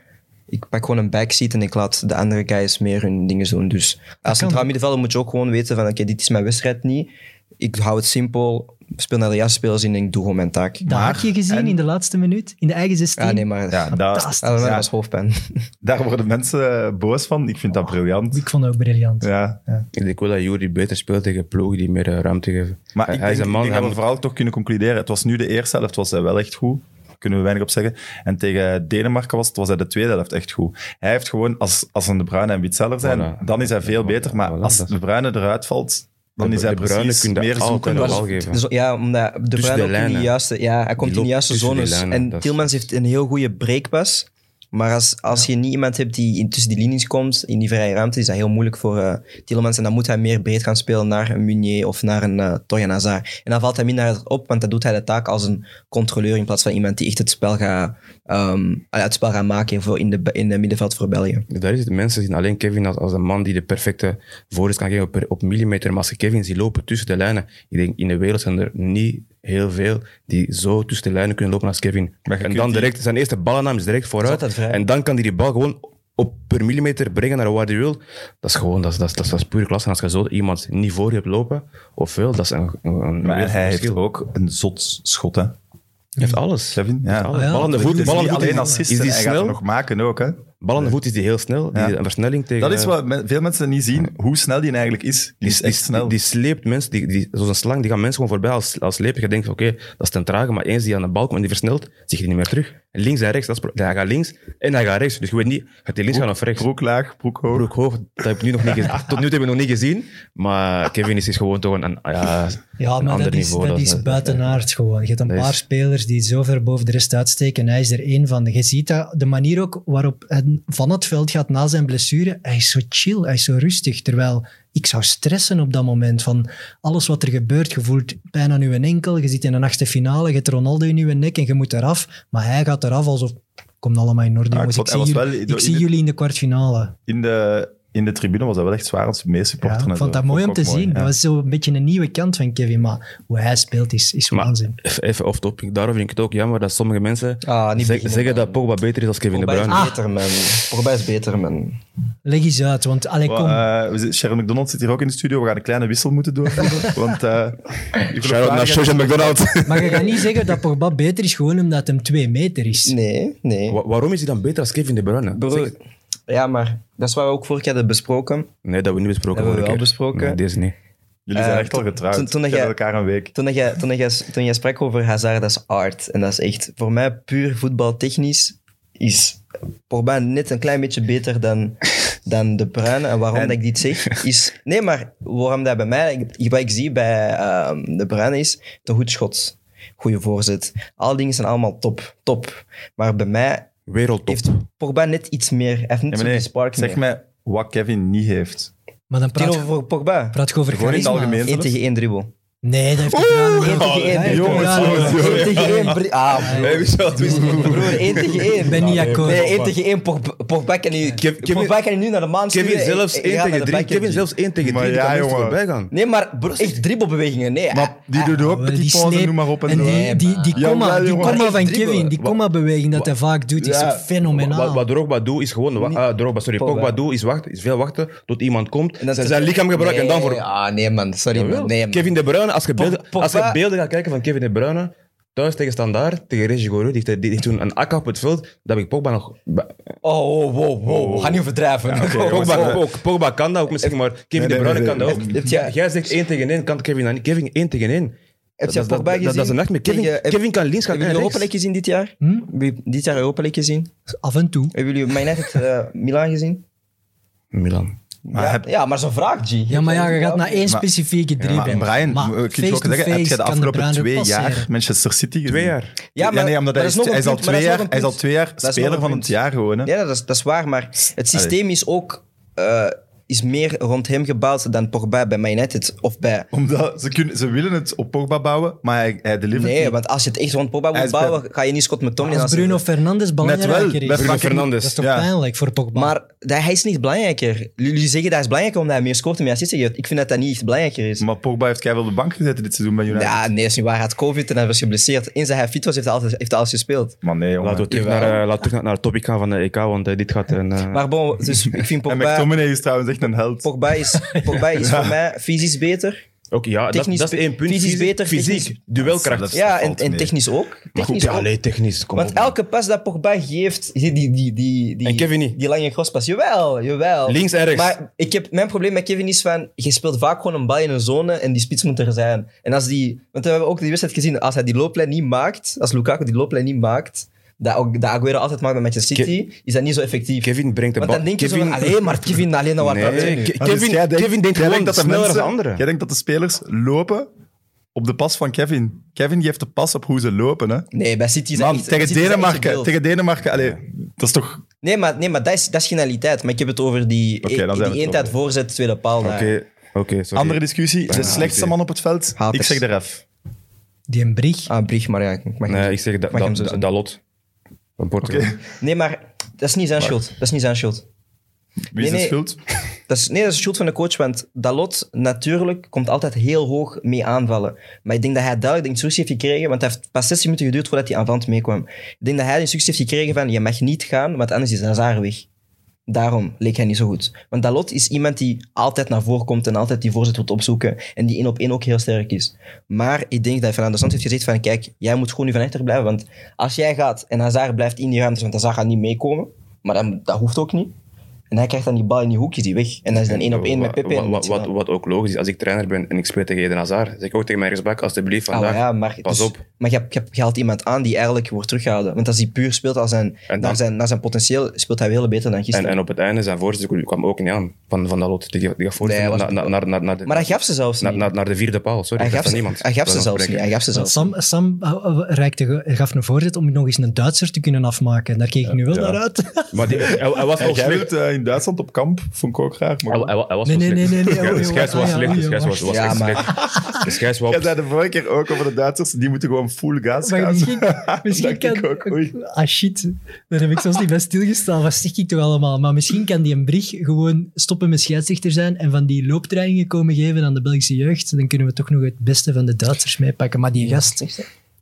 Ik pak gewoon een backseat en ik laat de andere guys meer hun dingen doen. Dus als
kan.
centraal middenvelder moet je ook gewoon weten van oké, dit is mijn wedstrijd niet. Ik hou het simpel. speel naar de juiste spelers in en ik doe gewoon mijn taak.
Dat
Maar-
haakje gezien
en-
in de laatste minuut, in de eigen 16.
Ah, nee, maar
Ja,
ja,
daar,
Fantastisch.
dat
ja.
was hoofdpijn.
daar worden mensen eh, boos van. Ik vind dat briljant.
Ik vond het ook briljant.
Ja.
Ik denk wel dat Jury beter speelt tegen ploegen die meer eh, ruimte geven.
Maar
hij
ik
hij
denk,
is een man,
ik denk dat
hij
we
moet-
vooral toch kunnen concluderen. Het was nu de eerste helft, was hij wel echt goed. Daar kunnen we weinig op zeggen. En tegen Denemarken was, het, was hij de tweede helft echt goed. Hij heeft gewoon, als, als een De Bruyne en Witzeller zijn,
Voilà.
dan is hij veel beter. Maar
Voilà,
als
dat is-
De Bruyne eruit valt, dan
De-
is hij
De Bruyne
precies
kun je
meer
altijd
zoeken.
wel
dan-
geven.
Dus, ja, omdat de
Tussen
Bruyne
de
ook in de
lijnen.
juiste, ja, hij komt in
loopt
de juiste
tussen die
zones.
lijnen,
en
dat is-
Tilmans heeft een heel goede breekpas. Maar als, als je niet iemand hebt die in- tussen die linies komt, in die vrije ruimte, is dat heel moeilijk voor eh Tillemans. En dan moet hij meer breed gaan spelen naar een Munier of naar een eh Torjan Hazard. En dan valt hij minder op, want dan doet hij de taak als een controleur in plaats van iemand die echt het spel gaat, ehm, het spel gaat maken voor in, de, in het middenveld voor België.
dus Daar is het. Mensen zien alleen Kevin als, als een man die de perfecte voorzet kan geven op, per- op millimeter. Maar als je Kevin ziet lopen tussen de lijnen, ik denk in de wereld zijn er niet heel veel die zo tussen de lijnen kunnen lopen als Kevin.
Maar je
En
kunt
dan
die-
direct, zijn eerste ballennaam is direct vooruit.
altijd vrij.
En dan kan hij die bal gewoon op per millimeter brengen naar waar hij wil. Dat is gewoon, dat is, dat is, dat is, dat is pure klasse. En als je zo iemand niet voor je hebt lopen, of veel, dat is een, een, een
Maar
wereld van
hij heeft
verschil.
ook een zot schot, hè.
Hij heeft alles.
Kevin? Ja.
Hij heeft alles.
Ja.
Bal aan de voet,
Dus
bal aan
niet
de voet.
alleen
Is-
assisten,
Is die
hij gaat er
snel?
nog maken ook, hè.
Bal aan de voet is die heel snel. Die,
Ja.
Een versnelling tegen...
Dat is wat me- veel mensen niet zien, hoe snel die eigenlijk is. Die is
Die,
echt
die,
snel.
die, sleept mensen, die, die, zoals een slang, die gaan mensen gewoon voorbij als, als slepen. Je denkt, oké, dat is ten trage, maar eens die aan de bal komt en die versnelt, zie je die niet meer terug. Links en rechts, dat is, pro- hij gaat links en hij gaat rechts. Dus je weet niet, gaat hij links gaan of rechts.
Broek laag, broek hoog.
Broek hoog, dat heb ik nu nog niet gezien. Tot nu toe hebben we nog niet gezien, maar Kevin is, is gewoon toch een, een, ja,
Ja,
een
maar
ander
dat is,
niveau.
dat is buitenaard gewoon. Je hebt een
dat
paar
is-
spelers die zo ver boven de rest uitsteken. Hij is er één van. Je ziet dat, de manier ook waarop hij van het veld gaat na zijn blessure. Hij is zo chill, hij is zo rustig. Terwijl ik zou stressen op dat moment. Van alles wat er gebeurt, je voelt pijn aan je enkel. Je zit in een achtste finale, je hebt Ronaldo in je nek en je moet eraf. Maar hij gaat eraf alsof... Komt allemaal in orde,
Ja, ik
jongens.
vond- hij
Ik, zie,
was
jullie,
wel-
ik zie jullie in de kwartfinale.
In de, in de tribune was dat wel echt zwaar als
Ja,
meesupporter.
ik vond dat mooi om te zien. Dat was zo'n beetje een nieuwe kant van Kevin. Maar hoe hij speelt is, is
Maar-
waanzin.
Even, even off-topic, daarom vind ik het ook jammer dat sommige mensen
Ah, niet
zeg-
beginnen,
zeggen
eh.
man.
dat Pogba beter is als Kevin De
Pogba is
Ah,
Bruyne. Ah.
beter, man. Pogba is beter, man.
Leg eens uit, want allee, kom.
Well, eh, we zitten- Sharon McDonald zit hier ook in de studio. We gaan een kleine wissel moeten doorvoeren. want eh die
Shout-out naar
geloofwaardigheid-
Serge McDonald.
maar je gaat niet zeggen dat Pogba beter is gewoon omdat hem twee meter is.
Nee, nee.
Wa- waarom is hij dan beter als Kevin De Bruyne?
Bro,
Zeg-
ja, maar dat is waar we ook vorige keer hadden besproken.
Nee, dat we niet besproken
Hebben we
vorige
wel
keer.
besproken.
Nee, deze niet.
Jullie zijn
Eh,
echt al getrouwd.
toen- toen dat
Kennen
jij-
elkaar een week.
Toen, dat jij, toen, dat jij, toen jij sprak over Hazard, dat is art. En dat is echt, voor mij puur voetbaltechnisch, is Pogba net een klein beetje beter dan, dan De Bruyne. En waarom dat ik dit zeg, is... Nee, maar waarom dat bij mij... ik- Wat ik zie bij ehm, De Bruyne is, een goed schot. Goede voorzet. Al die dingen zijn allemaal top. Top. Maar bij mij
Wereldtop.
heeft Pogba net iets meer... Hij heeft net
Ja, maar
zo'n
nee,
spark
zeg
meer.
mij wat Kevin niet heeft.
Maar dan praat,
Tegenover voor Pogba.
praat je over
Gewoon in het
charisma.
algemeen.
1 tegen 1 dribbel.
Nee, dat heeft hij gedaan.
1 tegen 1.
jongens, jongens, jongens.
1 tegen 1. bri- Ah, broer. Broer, 1 tegen 1.
Ik ben niet akkoord.
Nee, 1 tegen 1. Pogba- Pogba kan nu-
Kevin-
Pogba kan nu naar de maan sturen.
Kevin
en-
zelfs
en
1
gaat naar
tegen
de
3.
backhand.
Kevin zelfs 1 tegen
Maar
3.
ja,
Ja, jongen.
jongen.
voorbij gaan.
Nee, maar broer, echt dribbelbewegingen. Nee,
Maar die doet ook petit pauze, noem maar op en
en
zo.
die, die, die
Jawel,
comma, die
jongen.
comma van
Echt dribbelen.
Kevin, die comma-beweging dat hij vaak doet, is
Ja.
zo fenomenaal.
Wat, wat Drogba doet is gewoon... wa- ah, Drogba, sorry.
Pogba.
Pogba doet is, wachten, is veel wachten tot iemand komt. zijn, zijn lichaam gebruiken en dan voor...
Ah, nee man, sorry
Jawel.
man. Nee, man.
Kevin De Bruyne, als je, beelden,
Pogba-
als je beelden gaat kijken van Kevin De Bruyne... Thuis tegen Standaard, tegen Reggie Goreu, die, heeft- die heeft toen een akka op het veld. Dat heb ik Pogba nog... Ba-
Oh, wow, wow, wow. Ga niet overdrijven.
Pogba, Pog- Pogba kan dat ook misschien, maar
nee,
Kevin De Bruyne
nee,
kan dat
nee.
ook.
Heb jij-
Jij zegt 1 tegen 1, kan Kevin dat niet. Kevin 1 tegen 1.
Heb je
Dat- dat-
Pogba
dat-
gezien?
dat is een nachtmerrie. Kevin-
Tegen- heb-
Kevin kan links gaan
Hebben jullie Europa
en rechts.
League gezien dit jaar?
Hm?
Hebben jullie Dit jaar Europa League gezien?
Af en toe.
Hebben jullie Man United eh, Milan gezien?
Milan.
Maar
ja,
heb-
ja, maar zo'n vraag, G.
Ja, maar ja, je gaat naar één specifieke drie.
Maar Brian, ik je ook zeggen, heb je de afgelopen twee jaar Manchester City gezien?
Twee jaar.
Ja,
Ja,
maar
nee, omdat
dat
hij
is nog
is,
een
hij is al
punt, maar
twee
dat
jaar,
is nog een
hij is al
punt.
twee jaar
Dat is nog
speler
een
van
punt.
het jaar gewoon. Hè?
Ja, dat is, dat is waar, maar het systeem is ook... eh, is meer rond hem gebouwd dan Pogba bij Man United of bij...
Omdat ze, kunnen, ze willen het op Pogba bouwen, maar hij, hij delivert
Nee,
niet.
want als je het echt rond Pogba
Hij
moet
is bij-
bouwen, ga je niet Scott McTominay...
Als
als-
Bruno Fernandes
Net wel,
belangrijker
bij
is.
Bruno
Bruno
Fernandes.
Fernandes.
Dat is toch
Ja.
pijnlijk voor Pogba?
Maar dat, hij is niet belangrijker. Jullie zeggen dat is belangrijker omdat hij meer scoort en meer assists geeft. Ik vind dat dat niet echt belangrijker is.
Maar Pogba heeft keihard op de bank gezeten dit seizoen bij United.
ja, nee, dat is niet waar. Hij had COVID en hij was geblesseerd. Eens dat hij fit was, heeft hij altijd, heeft hij alles gespeeld.
Maar nee, jongen.
Laten we terug naar,
Jawel.
eh, laten we terug naar, naar het topic gaan van de EK, want eh, dit gaat een... eh,
Maar bon, dus ik vind
En
Pogba...
McTominay is trouwens echt een held.
Pogba is, Pogba is voor mij fysisch beter.
ja, dat,
Technisch
dat is één punt.
fysisch
Fysiek-
beter,
Fysiek,
technisch-
duelkracht.
Dat is-
Ja, en,
valt
en
mee.
technisch ook. Technisch
ja,
ook.
allee, technisch. Kom
Want
op, man.
elke pas dat Pogba geeft, die, die, die, die, die,
En Kevin niet.
die lange grospas, jawel, jawel.
Links en rechts.
Maar ik heb, mijn probleem met Kevin is van, je speelt vaak gewoon een bal in een zone en die spits moet er zijn. En als die, want we hebben ook die wedstrijd gezien, als hij die looplijn niet maakt, als Lukaku die looplijn niet maakt, dat, ook- dat Aguero altijd maakt bij Manchester City, is dat niet zo effectief.
Kevin brengt de
Want
bal.
dan denk je
Kevin,
zo van, alleen maar Kevin, alleen maar
Nee,
praten we nu?
Ke-
Maar dus
Kevin,
jij
Kevin denkt
jij
gewoon dat sneller dan anderen.
Jij denkt dat de spelers lopen op de pas van Kevin. Kevin geeft de pas op hoe ze lopen. Hè.
Nee, bij City is dat
Man,
echt- bij
tegen,
City is dat echt
Denemarken,
gebeeld.
tegen Denemarken, allee, dat is toch...
Nee, maar, nee, maar dat, is, dat is genialiteit. Maar ik heb het over die, e-
Oké, dan zijn we het
die één
over.
tijd voorzet, tweede paal. daar.
Oké, oké, sorry.
Andere discussie. De slechtste
oké.
man op het veld,
Haters.
ik zeg de ref.
Die een brig.
Ah, Brich, maar ja, ik mag niet.
Nee, ik zeg dat,
Mag hem
dat,
zo
dat,
zijn.
dat lot. Van Portugal.
Nee, maar dat is niet zijn schuld. Dat is niet zijn schuld.
Wie is
Nee,
de
nee.
schuld?
Dat is, nee, dat is de schuld van de coach, want Dalot natuurlijk komt altijd heel hoog mee aanvallen. Maar ik denk dat hij duidelijk de instructie heeft gekregen, want hij heeft pas 16 minuten geduurd voordat hij aanvallend meekwam. Ik denk dat hij de instructie heeft gekregen van je mag niet gaan, want anders is Hazard weg. Daarom leek hij niet zo goed. Want Dalot is iemand die altijd naar voren komt en altijd die voorzet moet opzoeken. En die één op één ook heel sterk is. Maar ik denk dat Fernando Santos heeft gezegd van kijk, jij moet gewoon nu van achter blijven. Want als jij gaat en Hazard blijft in die ruimte, want Hazard gaat niet meekomen. Maar dat, dat hoeft ook niet. En hij krijgt dan die bal in die hoek, is die weg. En dat is dan één op één met
Wat-
Pepe. en
Wat, wat,
Benzema.
wat ook logisch is, als ik trainer ben en ik speel tegen Eden Hazard, zeg ik ook tegen mijn rechtsback, alsjeblieft,
Ah,
vandaag,
ja, maar,
pas
dus-
op.
Maar je, hebt- je hebt- je haalt iemand aan die eigenlijk wordt teruggehouden. Want als hij puur speelt als zijn,
dan-
naar, zijn, naar zijn potentieel, speelt hij wel beter dan
En,
gisteren.
en op het einde, zijn voorzitter kwam ook niet aan van, van dat lot. Die, die gaf voorzitter
Nee, hij was-
na- na- naar, naar, naar de,
maar hij gaf ze zelfs
naar,
niet.
naar, naar de vierde paal, sorry.
hij
dat
gaf
was
ze,
niemand.
hij gaf
Dat
ze
was
zelfs niet.
aanspreken.
Hij gaf ze zelfs
Sam, Sam eh, eh, reikte, gaf een voorzet om nog eens een Duitser te kunnen afmaken. Daar keek ik nu wel naar uit.
Maar die, hij, hij was
En
al
jij
slecht.
wilt eh, in Duitsland op kamp, vond ik ook graag. Maar
Hij, hij, hij was
Nee,
wel
nee,
slecht.
nee, nee, nee.
Schijs-
Oh,
Schijs
joh,
was
ah,
slecht.
ja,
De Schijs
oh,
was, was
ja,
echt
maar-
slecht. De Schijs wou
Jij zei de vorige keer ook over de Duitsers, die moeten gewoon full gas
Maar
gaan.
misschien, misschien
dacht
kan...
ik ook, oei.
ah shit, daar heb ik zelfs niet bij stilgestaan. Wat zeg ik toch allemaal? Maar misschien kan die een brig gewoon stoppen met scheidsrechter zijn en van die looptrainingen komen geven aan de Belgische jeugd. Dan kunnen we toch nog het beste van de Duitsers meepakken. Maar die gast,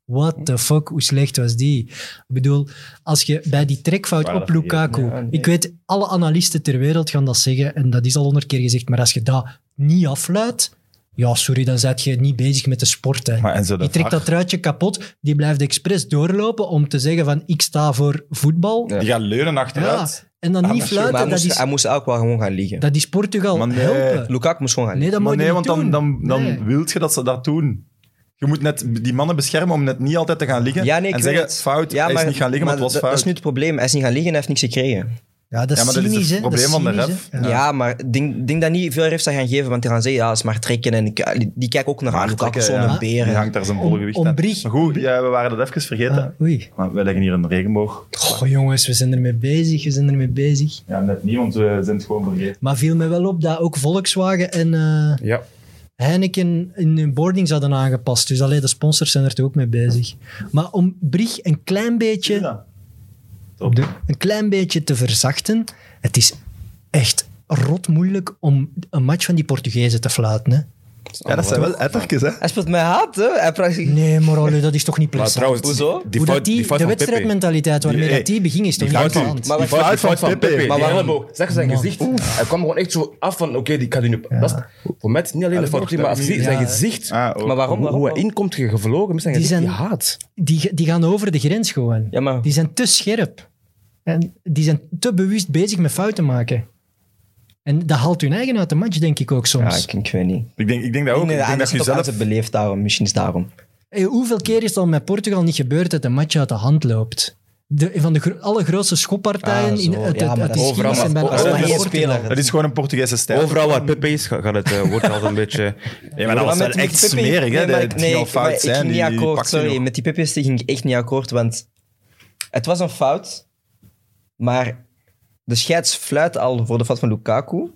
what the fuck, hoe slecht was die? Ik bedoel, als je bij die trekfout op Lukaku... Ik weet, alle analisten ter wereld gaan dat zeggen en dat is al honderd keer gezegd, maar als je dat niet afluidt... Ja, sorry, dan zet je niet bezig met de sport. Hè.
Maar en zo de
Die trekt
VAR?
dat truitje kapot. Die blijft expres doorlopen om te zeggen van ik sta voor voetbal.
Ja.
Die gaan leunen
Ja,
achteruit.
En dan niet
Maar hij
fluiten. Dat
moest,
is,
hij moest ook wel gewoon gaan liggen.
dat is Portugal
Maar nee.
helpen.
Lukaku moest gewoon gaan
Nee,
liggen.
dat
Maar
moet je
nee, want
niet
dan,
doen.
dan, dan
Nee.
wilt je dat ze dat doen. Je moet net die mannen beschermen om net niet altijd te gaan liggen.
Ja, nee, ik
en zeggen,
weet het.
fout, hij is niet gaan liggen, maar het was
dat-
fout.
Dat is nu het probleem. Hij is niet gaan liggen en hij heeft niks gekregen.
Ja, dat is
Ja, maar dat is het
cynisch, hè.
probleem
is
van de
cynisch,
ref.
hè.
Ja, maar ik denk, denk dat niet veel refs dat gaan geven, want die gaan zeggen, ja, dat is maar trekken. En ik- die, die kijken ook naar
Maar
aan. Lukaku
trekken,
is zo'n
ja.
beer.
Die
hè.
hangt daar zijn volle
Om-
gewicht
om
aan.
Brig-
Maar goed, ja, we waren dat even vergeten.
Ah, oei.
Maar we leggen hier een regenboog.
Goh, jongens, we zijn ermee bezig. We zijn ermee bezig.
Ja, net niet, want we zijn het gewoon vergeten.
Maar viel me wel op dat ook Volkswagen en eh,
Ja,
Heineken in hun boardings hadden aangepast. Dus alleen de sponsors zijn er toch ook mee bezig. Maar om Brig een klein beetje...
Ja. Top.
een klein beetje te verzachten. Het is echt rot moeilijk om een match van die Portugezen te fluiten. Hè?
Ja, dat zijn wel ettertjes, hè.
Hij speelt mij hard, hè. Hij praat-
Nee, maar allee, dat is toch niet
maar
plezant.
trouwens,
Hoezo?
die
Hoe
fout,
dat die,
die fout
de
van Pepe.
wedstrijdmentaliteit waarmee
Die-
dat die beging is toch niet
fout
aan de
die-
hand?
Maar
Die
wacht,
fout, die
fout
fout
van
van
Pepe.
Pepe.
Maar
Die
waarom?
elleboog. Zag zijn
Man.
gezicht. Hij kwam gewoon echt zo af van, oké, die kan die nu... Dat is, voor mij is het niet alleen de fout, maar als die- zijn
Ja.
gezicht...
Ah, ook.
Maar waarom?
Hoe,
waarom?
hoe hij inkomt, je gevlogen met zijn
Die
gezicht, die
zijn-
haat.
Die, die gaan over de grens gewoon.
Ja, maar-
Die zijn te scherp. En die zijn te bewust bezig met fouten maken. En dat haalt hun eigen uit de match, denk ik ook
Ja,
soms.
ik, ik weet niet.
Ik denk, ik denk dat ook.
Nee,
ik denk dat je zelf...
het beleefd daarom. Misschien is het daarom.
Hey, hoeveel keer is het al met Portugal niet gebeurd dat een match uit de hand loopt? De, van de gro- allergrootste schoppartijen
Ah, zo.
in het, het,
Ja, maar
het,
dat is-
Overal,
geschiedenis zijn
maar-
bijna
overal
allemaal
is
in
het
Portugal.
spelen.
Het is gewoon een Portugese stijl.
Overal waar Pepe is, ga- gaat het eh, wordt altijd een beetje...
Ja, maar dat was wel
met die
echt
Pepe-
smerig, hè.
Nee, maar
dat
ik-
het
nee,
ging al
ik- maar
fout
ik
zijn.
ging niet
die
akkoord,
pakt die
sorry.
nog.
Met die Pepe's ging ik echt niet akkoord, want het was een fout, maar de scheids fluit al voor de fout van Lukaku.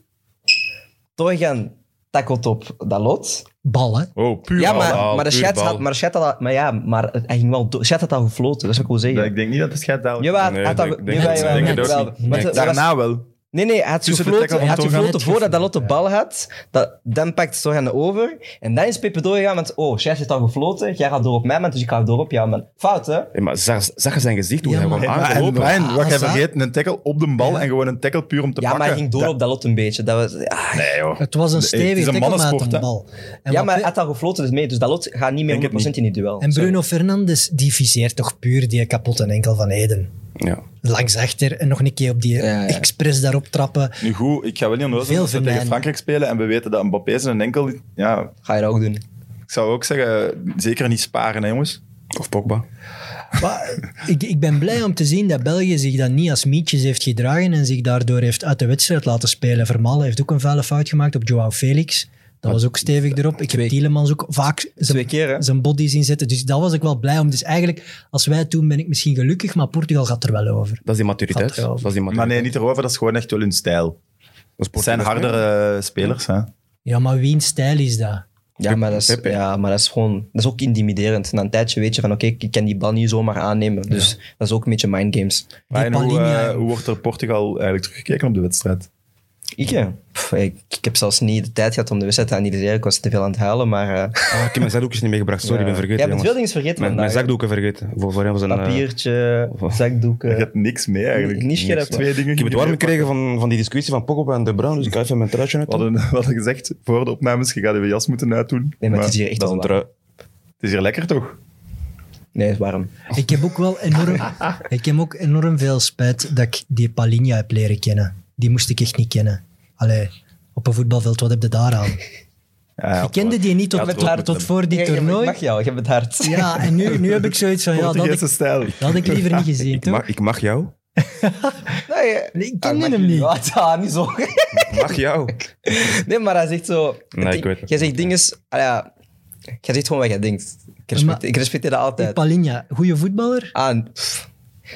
Torgan tackelt op Dalot.
Bal, hè?
Oh, puur
Ja, maar,
al-
bal,
maar de
puur
scheids had,
bal.
maar de scheids had al, maar ja, maar hij ging wel, door- de scheids had al gefloten, dat is wat ik wil zeggen.
Ik denk Nou, niet dat het gaat daar...
Jawel,
Nee,
had al,
ik denk-
jawel,
ik
jawel,
denk het
jawel.
ook
Want
niet.
het was-
Daarna wel.
Nee, nee, hij had
Tussen de
gefloten,
tackle
hij
van
had
Tonga.
gefloten voordat Dalot de
Ja.
bal had. Dat, dan pakt Soran de over. En dan is Pepe doorgegaan met... Oh, Chef heeft al gefloten. Jij gaat door op mij, man. Dus ik ga door op jou, man. Fout, hè?
Ja, maar zag, zag je zijn gezicht hoe
Ja,
hij
maar-
kwam
Hey, maar- Ah, en
aangelopen?
Brian, wat jij
Hazard-
vergeet, een tackle op de bal en gewoon een tackle puur om te
ja,
pakken.
maar hij ging door
Dat-
op Dalot een beetje. Dat was, ah.
Nee, joh.
Het was een
Nee, het is
stevige
een
tackle maar uit
mannensport,
een
hè.
bal. En
Ja,
wat
maar hij
Pe-
had al gefloten dus mee. Dus Dalot gaat niet
Denk
meer
het niet.
100% in die duel.
en Bruno Fernandes, die viseert toch puur die kapotte enkel van Eden.
Ja.
Langs achter en nog een keer op die
Ja, ja.
expres daarop trappen.
Nu goed, ik ga wel niet onnozel
Veel
zijn als we tegen
venijnen.
Frankrijk spelen en we weten dat Mbappé zijn enkel... Ja,
Sorry. Ga je dat ook doen.
ik zou ook zeggen, zeker niet sparen, hè, jongens.
Of Pogba.
Maar ik, ik ben blij om te zien dat België zich dan niet als mietjes heeft gedragen en zich daardoor heeft uit de wedstrijd laten spelen. Vermaelen heeft ook een vuile fout gemaakt op Joao Felix. Dat was ook stevig erop. Ik heb Tielemans ook vaak
Twee
zijn,
keer, hè?
zijn body zien zetten. Dus dat was ik wel blij om. Dus eigenlijk, als wij het doen, ben ik misschien gelukkig, maar Portugal gaat er wel over.
Dat is die maturiteit.
Gaat erover.
Dat is die
Maar
maturiteit.
nee, niet erover, dat is gewoon echt wel hun stijl.
Dat is
Het zijn
Portugal.
hardere eh, spelers, hè.
Ja, maar wiens stijl is dat?
Ja maar, dat is,
Pepe.
ja, maar dat is gewoon... Dat is ook intimiderend. Na een tijdje weet je van... Oké, ik kan die bal niet zomaar aannemen. Dus dat is ook een beetje mindgames.
Brian, hoe,
Palhinha.
eh, hoe wordt er Portugal eigenlijk teruggekeken op de wedstrijd?
Ik, ja. Pff, ik, ik heb zelfs niet de tijd gehad om de wedstrijd te analyseren. Ik was te veel aan het huilen, maar... eh,
Ah, ik heb mijn zakdoekjes niet meegebracht. Sorry, ik ben vergeten.
Jij bent
jongens.
veel dingen vergeten
Mijn, mijn
vandaag.
zakdoeken vergeten. Voor, voor hem was een... eh,
Papiertje, zakdoeken.
Je hebt niks mee, eigenlijk.
Niet scherp,
Niks.
hè.
Twee dingen
ik heb
ging
het warm
je meepakken.
gekregen van, van die discussie van Pogba en De Bruyne, dus ik ga even mijn truitje uit.
We hadden, we hadden gezegd, voor de opnames, je gaat je jas moeten uitdoen.
Nee, maar het is hier echt
Dat is
al
een
warm.
trui.
het is hier lekker, toch?
Nee, het is warm.
Ik heb ook wel enorm, ik heb ook enorm veel spijt dat ik die Palinha heb leren kennen. Die moest ik echt niet kennen. Allee, op een voetbalveld, wat heb je daar aan?
Ja, ja,
Ik kende die niet tot,
het
tot,
wordt met
tot
hem.
voor die
Nee,
toernooi.
Ik mag jou, ik heb het hard.
Ja, en nu, nu heb ik zoiets van, ja, dat had ik,
Portugese stijl.
dat had ik liever niet gezien,
Ik
toch?
mag, ik mag jou.
Nee,
Nee, ik
Ah,
kende
mag
hem
je-
niet.
Ja, ja, niet zo.
Ik mag jou.
Nee, maar hij zegt zo...
Nee,
het
ik weet het.
Jij zegt dingen... ah ja, jij zegt gewoon wat jij denkt. Ik, respecte-
Maar-
ik respecteer dat
Die
altijd.
Palinha, goede voetballer.
Ah, en- pff.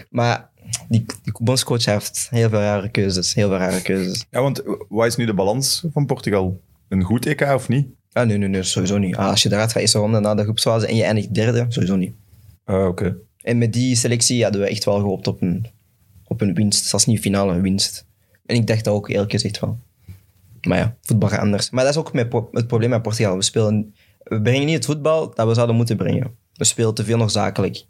maar die, die bondscoach heeft heel veel rare keuzes. Heel veel rare keuzes.
Ja, want eh, wat is nu de balans van Portugal? Een goed EK of niet?
Ah, nee, nee, nee, sowieso niet. Ah, als je eruit gaat eerste ronde na de groepsfase en je eindigt derde, sowieso niet.
Ah, oké.
En met die selectie hadden we echt wel gehoopt op een, op een winst. Zelfs niet finale, een winst. En ik dacht dat ook eerlijk gezegd wel. Maar ja, voetbal gaat anders. Maar dat is ook met pro- het probleem met Portugal. We, spelen, we brengen niet het voetbal dat we zouden moeten brengen. We spelen te veel nog zakelijk.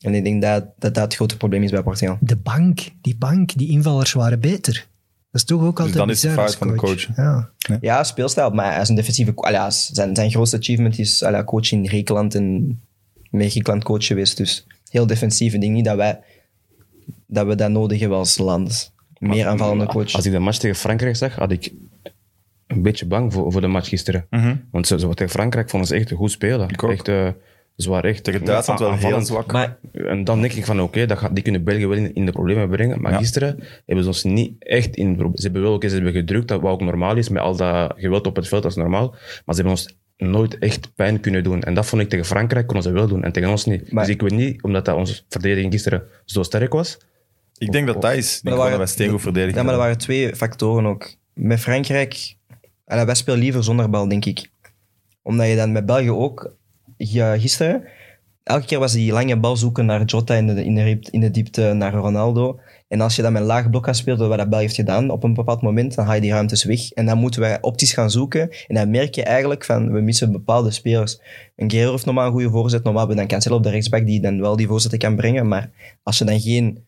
En ik denk dat dat, dat het grote probleem is bij Portugal.
De bank, die bank, die invallers waren beter. Dat is toch ook altijd
dan is het
bizar
fout van
als
de coach.
Ja.
Ja, speelstijl, maar hij is een defensieve... co- Allee, hij is- zijn, zijn grootste achievement is allee, coach in Griekenland en met Griekenland coach geweest. Dus heel defensief. Ik denk niet dat wij dat, we dat nodig hebben als land. Meer aanvallende coach.
Als ik de match tegen Frankrijk zag, had ik een beetje bang voor, voor de match gisteren. Want ze, ze- tegen Frankrijk vonden ze echt goed spelen.
Mhm. ook.
Echt eh, zwaar, echt.
Tegen Duitsland wel heel
aanvallend.
zwak.
Maar
En dan denk ik van oké, dat gaat- die kunnen België wel in, in de problemen brengen. Maar gisteren hebben ze ons niet echt in de problemen. Ze hebben wel ook eens hebben gedrukt, dat wat ook normaal is, met al dat geweld op het veld, dat is normaal. Maar ze hebben ons nooit echt pijn kunnen doen. En dat vond ik tegen Frankrijk konden ze wel doen en tegen ons niet.
Maar-
dus ik weet niet, omdat dat onze verdediging gisteren zo sterk was.
Ik denk dat dat is. Ik denk wel dat wij steengoed verdedigen.
Ja, maar er waren twee factoren ook. Met Frankrijk, allee, wij spelen liever zonder bal, denk ik. Omdat je dan met België ook, ja, gisteren, elke keer was die lange bal zoeken naar Jota in de, in de, riep- in de diepte, naar Ronaldo. En als je dan met een laag blok gaat spelen, wat dat België heeft gedaan, op een bepaald moment, dan haal je die ruimtes weg. En dan moeten wij opties gaan zoeken. En dan merk je eigenlijk van, we missen bepaalde spelers. Een Guerrero heeft normaal een goede voorzet, normaal hebben we dan Cancelo op de rechtsback die dan wel die voorzetten kan brengen. Maar als je dan geen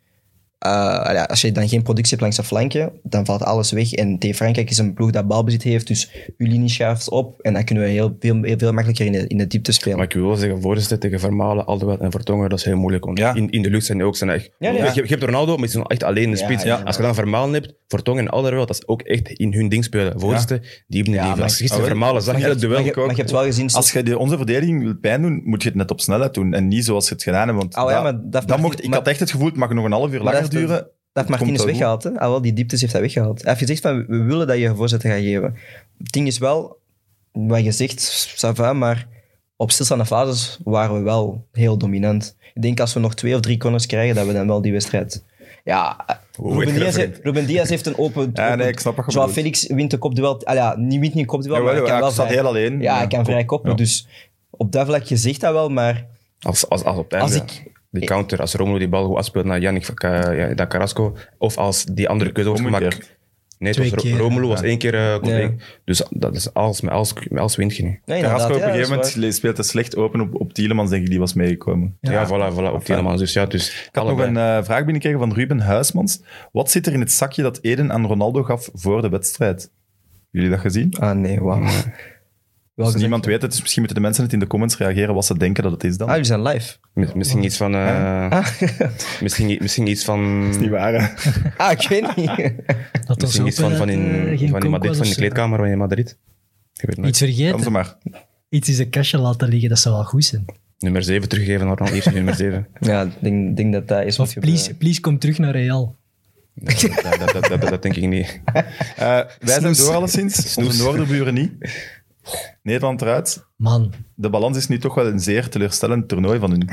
eh, ja, als je dan geen productie hebt langs de flanken, dan valt alles weg. En tegen Frankrijk is een ploeg dat balbezit heeft, dus uw linie schuift op. En dan kunnen we heel, veel, heel veel makkelijker in de, in de diepte spelen.
Maar ik wil wel zeggen, voorzitter tegen Vermalen, Alderweireld en Vertongen, dat is heel moeilijk. Want
Ja.
in, in de lucht zijn die ook zijn echt...
Ja, ja.
Je, je hebt Ronaldo, maar die zijn echt alleen in de
Ja,
spits.
ja.
Als je dan Vermalen hebt, Vertongen en Alderweireld, dat is ook echt in hun ding spelen. Voorzitter, die
Ja,
hebben niet veel.
maar- oh,
Als je gisteren
Ah, wel.
Vermalen zag, je
Maar
dat
je-
duel.
maar, je,
ook.
maar je hebt wel gezien...
Als je die- onze verdediging wil pijn doen, moet je het net op snelheid doen. En niet zoals je het gedaan hebt. Want
Oh ja,
dat-
maar dat-
dat
maar-
mocht, ik
maar-
had echt het gevoel, het mag nog een half uur
Maar
langer
dat heeft-
duren.
Dat heeft Martinez
komt wel
weggehaald. Hè? Ah, wel, die dieptes heeft hij weggehaald. Hij heeft gezegd van, we willen dat je voorzetten gaat geven. Het ding is wel, wat je zegt, ça va, maar op stilstaande fases waren we wel heel dominant. Ik denk als we nog twee of drie corners krijgen, dat we dan wel die wedstrijd... Ja, Ruben Diaz, heeft, Ruben Diaz heeft een open...
Ja,
open-
nee, ik snap wat je
Joao
bedoelt.
Felix wint de kopduel. Ah ja, niet wint niet een kopduel,
Jawel,
maar hij
ja,
kan wel
hij staat
vrij-
heel alleen.
Ja, hij
Ja,
kan vrij koppen.
ja.
Dus op dat vlak, je zegt dat wel, maar...
Als, als, als op het
Als
einde.
ik,
Die counter, als Romelu die bal goed afspeelt naar Yannick Ca- ja, dat Carrasco. Of als die andere keuze wordt
Omgekeerd.
gemaakt. Nee, het
Twee
was Ro-
keer.
Romelu was één keer eh Courtois.
Ja.
Dus dat is alles, met alles, met alles wint je niet.
Nee,
Carrasco
inderdaad,
op een
ja,
gegeven
dat
moment
is waar.
le- speelt het slecht open op, op Tielemans, denk ik, die was meegekomen.
Ja, voilà, voilà, op Tielemans. Dus ja, dus
Ik had nog een eh, vraag binnengekregen van Ruben Huismans. Wat zit er in het zakje dat Eden aan Ronaldo gaf voor de wedstrijd? Jullie dat gezien?
Ah, nee, wauw.
Als
Welke
niemand weet het, dus misschien moeten de mensen het in de comments reageren wat ze denken dat het is dan.
Ah, jullie zijn live.
Mis- Misschien iets van... eh, misschien, i- misschien iets van...
waar, hè?
Ah, ik weet niet.
Dat was
Misschien
ook
iets van,
wel
van,
uit,
in,
eh, geen
van, in
Conquest
Madrid,
of
van in de
zo.
kleedkamer van in Madrid. Ik weet het nooit.
Iets vergeten,
Kan ze maar.
iets in zijn kastje laten liggen, dat zou wel goed zijn.
Nummer 7 teruggeven aan Ronaldo. Eerst nummer 7.
ja, ik denk, denk dat dat is wat
Of please, please kom terug naar Real.
Dat, dat, dat, dat, dat- dat denk ik niet.
Eh, wij zijn
Snoes.
door alleszins, onze noorderburen niet. Nederland eruit.
Man.
De balans is nu toch wel een zeer teleurstellend toernooi van hun.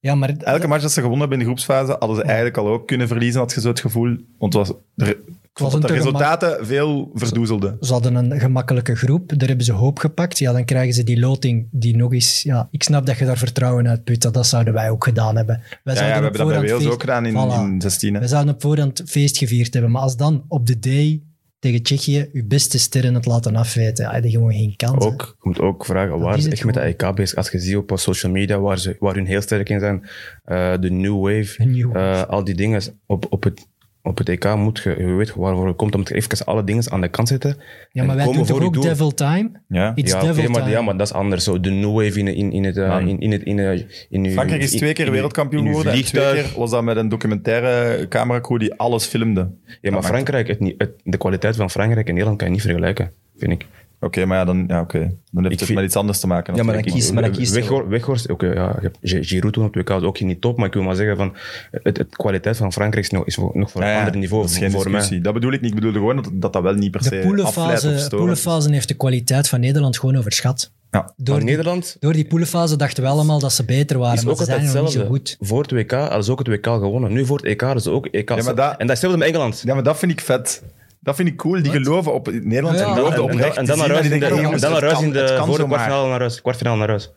Ja, maar
Elke match dat ze gewonnen hebben in de groepsfase, hadden ze eigenlijk al ook kunnen verliezen, had je zo het gevoel. Want het was, er- ik vond
een
dat de
te gemak-
resultaten veel verdoezelden.
ze hadden een gemakkelijke groep, daar hebben ze hoop gepakt. Ja, dan krijgen ze die loting die nog eens... Ja, ik snap dat je daar vertrouwen uit put, dat, dat zouden wij ook gedaan hebben. Wij
Ja, ja, we
zouden op
hebben dat bij
voorhand
Wales
feest-
ook gedaan in,
Voilà.
in 16. hè.
We zouden op voorhand feest gevierd hebben. Maar als dan op de day tegen Tsjechië je beste sterren het laten afweten, ja, die gewoon geen kans. hè.
Ook, je moet ook vragen,
is
waar ze
het
echt met de
gewoon.
EK bezig? Als je ziet op eh, social media waar, ze, waar hun heel sterk in zijn, eh, de New Wave,
De new
eh,
wave.
al die dingen op, op, het, op het EK moet je, je weet waarvoor je komt, om je even alle dingen aan de kant zetten.
Ja, maar
en
wij doen
komen
toch
voor je
ook
doel.
devil time?
Ja.
It's
ja, oké,
devil
maar,
time.
ja, maar dat is anders. Zo, de New Wave in, in, in het... eh,
Man.
in, in het in, eh, in uw-
Frankrijk is
in-
twee
in
keer
uw- in
wereldkampioen
uw
geworden. en Twee
vliegtuig.
keer was dat met een documentaire cameracrew die alles filmde.
Ja, maar Frankrijk, het, niet- het, de kwaliteit van Frankrijk en Nederland kan je niet vergelijken, vind ik.
Oké, maar ja, dan, ja, oké. dan heeft het
vind-
met iets anders te maken.
Ja, maar dan
natuurlijk.
kies, maar dan kies je
Weghorst, Weghorst oké, ja, je hebt Gi- Giroud toen op 2K was ook niet top, maar ik wil maar zeggen van het, het kwaliteit van Frankrijk is nog, is voor- nog voor
Ja,
een
ja,
ander niveau
dat is
voor,
geen
voor mij.
discussie. Dat bedoel ik niet. Ik bedoelde gewoon dat dat, eh, dat wel niet per
De
se afleidt of
poelenfase,
stoort.
poelenfase heeft de kwaliteit van Nederland gewoon overschat.
Ja.
Door
Maar
die,
Nederland
door die poelenfase dachten we allemaal dat ze beter waren,
is
maar
ook
ze
altijd
zijn nog niet
hetzelfde.
zo goed.
Voor het WK hadden ze ook het WK gewonnen. Nu voor het EK hadden ze ook EK.
maar dat-
En dat is hetzelfde met Engeland.
Ja, maar dat vind ik vet. Dat vind ik cool. Die geloven op Nederland.
Ja,
en
ja.
geloofden
En- en-
oprecht.
en dan naar
Die
huis in
zien dat die denken,
de, en dan
jongens,
naar huis
het
in
kan-
de
het kan
voor de
zomaar.
kwartfinale naar huis. Kwartfinale naar huis.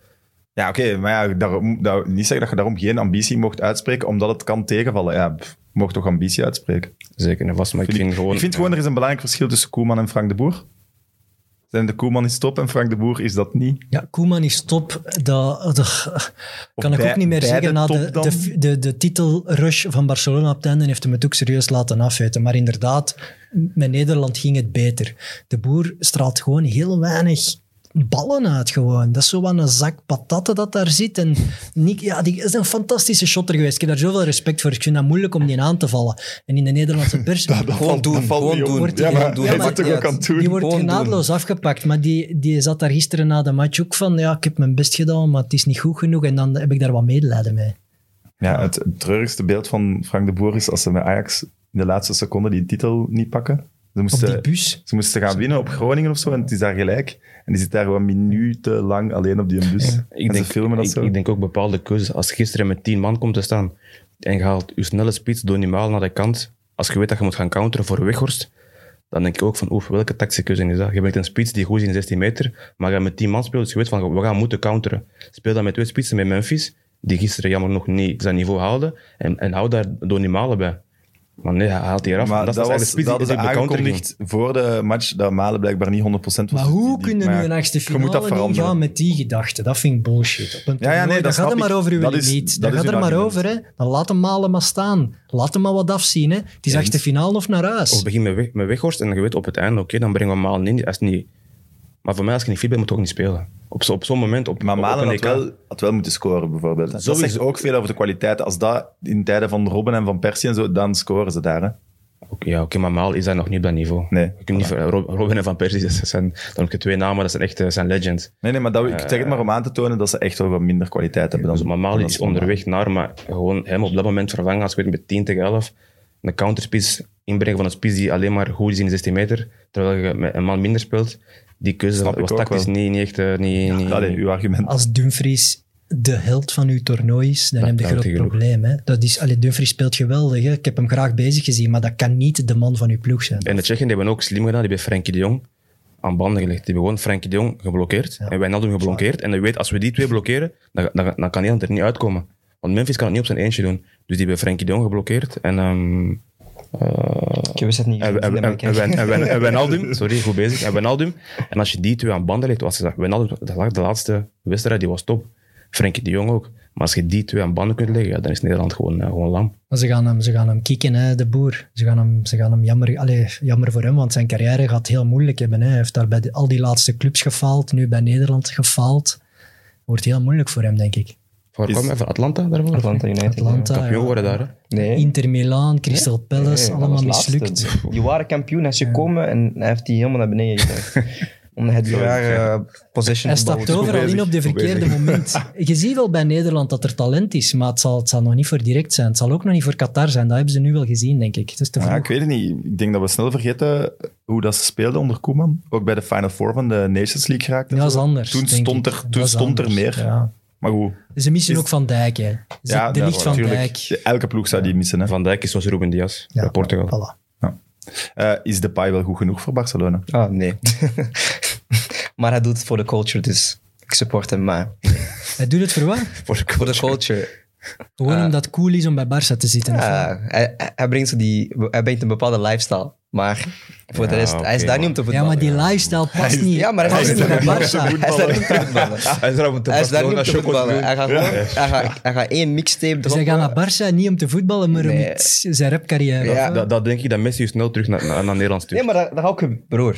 Ja, oké. maar ja, daarom, daar, niet zeggen dat je daarom geen ambitie mocht uitspreken, omdat het kan tegenvallen. Ja, pff, je mocht toch ambitie uitspreken.
Zeker en vast, maar ik
Vind
vind
ik,
gewoon...
ik vind gewoon, er is een belangrijk verschil tussen Koeman en Frank de Boer. Zijn de Koeman is top en Frank de Boer is dat niet.
Ja, Koeman is top. Dat, dat kan ik
bij-
ook niet meer
bij de
zeggen. Na de,
top dan?
de, de, de titelrush van Barcelona op het einde heeft hem het ook serieus laten afweten. Maar inderdaad, met Nederland ging het beter. De boer straalt gewoon heel weinig ballen uit gewoon. Dat is zo wat een zak patatten dat daar zit. En Nick, ja, die is een fantastische shotter geweest. Ik heb daar zoveel respect voor. Ik vind dat moeilijk om die aan te vallen. En in de Nederlandse pers...
Gewoon doen, gewoon
niet op.
doen.
Ja, maar
doen.
hij
Ja,
zit
maar-
toch ook aan het doen.
Die wordt
Gewoon doen.
genadeloos afgepakt. Maar die, die zat daar gisteren na de match ook van... Ja, ik heb mijn best gedaan, maar het is niet goed genoeg. En dan heb ik daar wat medelijden mee.
Ja, het, het treurigste beeld van Frank de Boer is als ze met Ajax in de laatste seconde die titel niet pakken. Ze
Op
moesten,
die bus.
ze moesten gaan winnen op Groningen of zo en het is daar gelijk. En die zit daar gewoon minuten lang alleen op die bus.
Ik
en
denk,
ze filmen dat
ik,
zo.
ik denk ook bepaalde keuzes. Als je gisteren met tien man komt te staan en je haalt je snelle spits door maal naar de kant, als je weet dat je moet gaan counteren voor Weghorst, dan denk ik ook van, oef, welke tactische is dat? Je bent een spits die goed is in 16 meter, maar je gaat met tien man speelt, dus je weet van, we gaan moeten counteren. Speel dan met twee spitsen met Memphis, die gisteren jammer nog niet zijn niveau haalden, en, en hou daar Donny Malen bij. Maar nee, hij haalt die eraf.
maar dat,
is
was,
eigenlijk de
dat hadden
spits
ze
die die op de counter ging.
aangekondigd voor de match dat Malen blijkbaar niet 100% was. Dus
Maar hoe
Die-
kunnen
maar
nu een achtste
je moet dat
finale niet
veranderen.
gaan met die gedachten? Dat vind ik bullshit. Op een
Ja, ja, nee,
toernooi,
dat
dat gaat
snap
er maar
ik.
over uw
Dat is- dat
limiet. Dat
is
gaat
uw
er maar
argument.
over. Hè. Dan laat hem malen maar staan. Laat hem maar wat afzien. Hè. Het is achtste finale of naar
Of
Oh.
huis.
begin Oh, met, weg, met Weghorst en je weet op het einde, oké, dan brengen we Malen in. Als niet, maar voor mij, als je niet fit bent, moet je ook niet spelen. Op, zo- op zo'n moment, op,
Maar
op- op
Malen
een
had
EK.
wel, had wel moeten scoren, bijvoorbeeld. Dat
Sowieso.
zegt ook veel over de kwaliteit. Als dat in tijden van Robben en van Persie en zo, dan scoren ze daar. Hè?
Oké, ja, oké, maar Malen is daar nog niet op dat niveau.
Nee.
Je kunt niet, ver- Rob- Robin en Van Persie, dat zijn, dan heb je twee namen, dat zijn echt eh, zijn legends.
Nee, nee, maar dat, ik zeg het maar om aan te tonen dat ze echt wel wat minder kwaliteit hebben. Dan,
Dus, Eh. maar Malen
dan
is
dan-
onderweg naar, maar gewoon hem op dat moment vervangen als je weet met 10 tegen 11. Een counterspits inbrengen van een spits die alleen maar goed is in 16 meter, terwijl je met een man minder speelt. Die keuze
Snap ik
was
ook
tactisch
wel.
niet, niet echt... eh, Niet, niet,
Allee, uw argument.
Als Dumfries de held van uw toernooi is, dan
Dat-
heb je
dat
een groot
heb je genoeg.
probleem. Hè. Dat is, allee, Dumfries speelt geweldig. Hè. Ik heb hem graag bezig gezien, maar dat kan niet de man van uw ploeg zijn.
En de Tsjechen die hebben ook slim gedaan. Die hebben Frenkie de Jong aan banden gelegd. Die hebben gewoon Frenkie de Jong geblokkeerd. En Wijnaldum geblokkeerd. En je weet, als we die twee blokkeren, dan, dan, dan kan Nederland er niet uitkomen. Want Memphis kan het niet op zijn eentje doen. Dus die hebben Frenkie de Jong geblokkeerd. En, ehm
Ik wist het niet.
en, en, en, en, Wen- en, Wen- en Wijnaldum. Sorry, goed bezig. En Wijnaldum. En als je die twee aan banden legt, was je zegt, Wijnaldum, dat lag de laatste wedstrijd, die was top. Frenkie de Jong ook. Maar als je die twee aan banden kunt leggen, ja, dan is Nederland gewoon, eh, gewoon lam.
Maar ze gaan hem, ze gaan hem kicken, hè, de boer. Ze gaan hem, ze gaan hem jammer, allee, jammer voor hem, want zijn carrière gaat heel moeilijk hebben. Hè. Hij heeft daar bij de- al die laatste clubs gefaald, nu bij Nederland gefaald. Wordt heel moeilijk voor hem, denk ik.
Waar
Is-
kwam hij van Atlanta daarvoor?
Atlanta United.
Atlanta,
Kampioen worden daar, hè?
Nee.
Inter Milan, Crystal Palace,
Nee,
allemaal
dat was laatste.
mislukt.
Die waren kampioen, hij is gekomen en hij heeft die helemaal naar beneden gebracht. Omdat hij die rare eh, possession
Hij
te bouwen.
stapt overal in op de verkeerde moment. Je ziet wel bij Nederland dat er talent is, maar het zal, het zal nog niet voor direct zijn. Het zal ook nog niet voor Qatar zijn. Dat hebben ze nu wel gezien, denk ik. Het is te
Ja,
vroeg.
ik weet het niet. Ik denk dat we snel vergeten hoe dat ze speelden onder Koeman. Ook bij de Final Four van de Nations League geraakt. en
Dat is
zo.
anders.
Toen
denk
stond
ik.
er,
Dat
toen
is
stond er
anders,
meer.
ja.
Maar goed.
Ze missen
Is-
ook Van Dijk, hè. Ze-
Ja,
de
nou,
ja,
licht van
natuurlijk.
Dijk.
Elke ploeg zou die missen. Hè.
Van Dijk is zoals Ruben Diaz
Ja,
bij Portugal.
Voilà.
Eh, is de paai wel goed genoeg voor Barcelona?
Ah, nee. maar hij doet het voor de culture, dus ik support hem. Maar
Hij doet het voor wat?
voor de culture.
Gewoon
Eh,
omdat het cool is om bij Barça te zitten. of wat?
Ja, hij, hij, brengt zo die, hij brengt een bepaalde lifestyle. Maar voor de
Ja,
rest, hij is
oké,
daar
man.
niet om te
ja,
voetballen.
maar die lifestyle past
is-
niet.
Ja, maar hij
past
is-
niet bij
hij
is-
Barça.
hij is daar niet om te voetballen.
Hij is daar om te
Hij is daar niet om
Barcelona
te
chocos
voetballen.
doen.
Hij gaat, gewoon, hij, gaat, hij gaat één mixtape
Dus hij
droppen.
gaat naar Barça niet om te voetballen, maar om
Nee.
iets- zijn rapcarrière.
Ja.
of, eh,
Dat, dat denk ik dat Messi dus snel terug naar, naar, naar Nederland stuurt.
Nee, maar daar, daar hou ik hem- broer.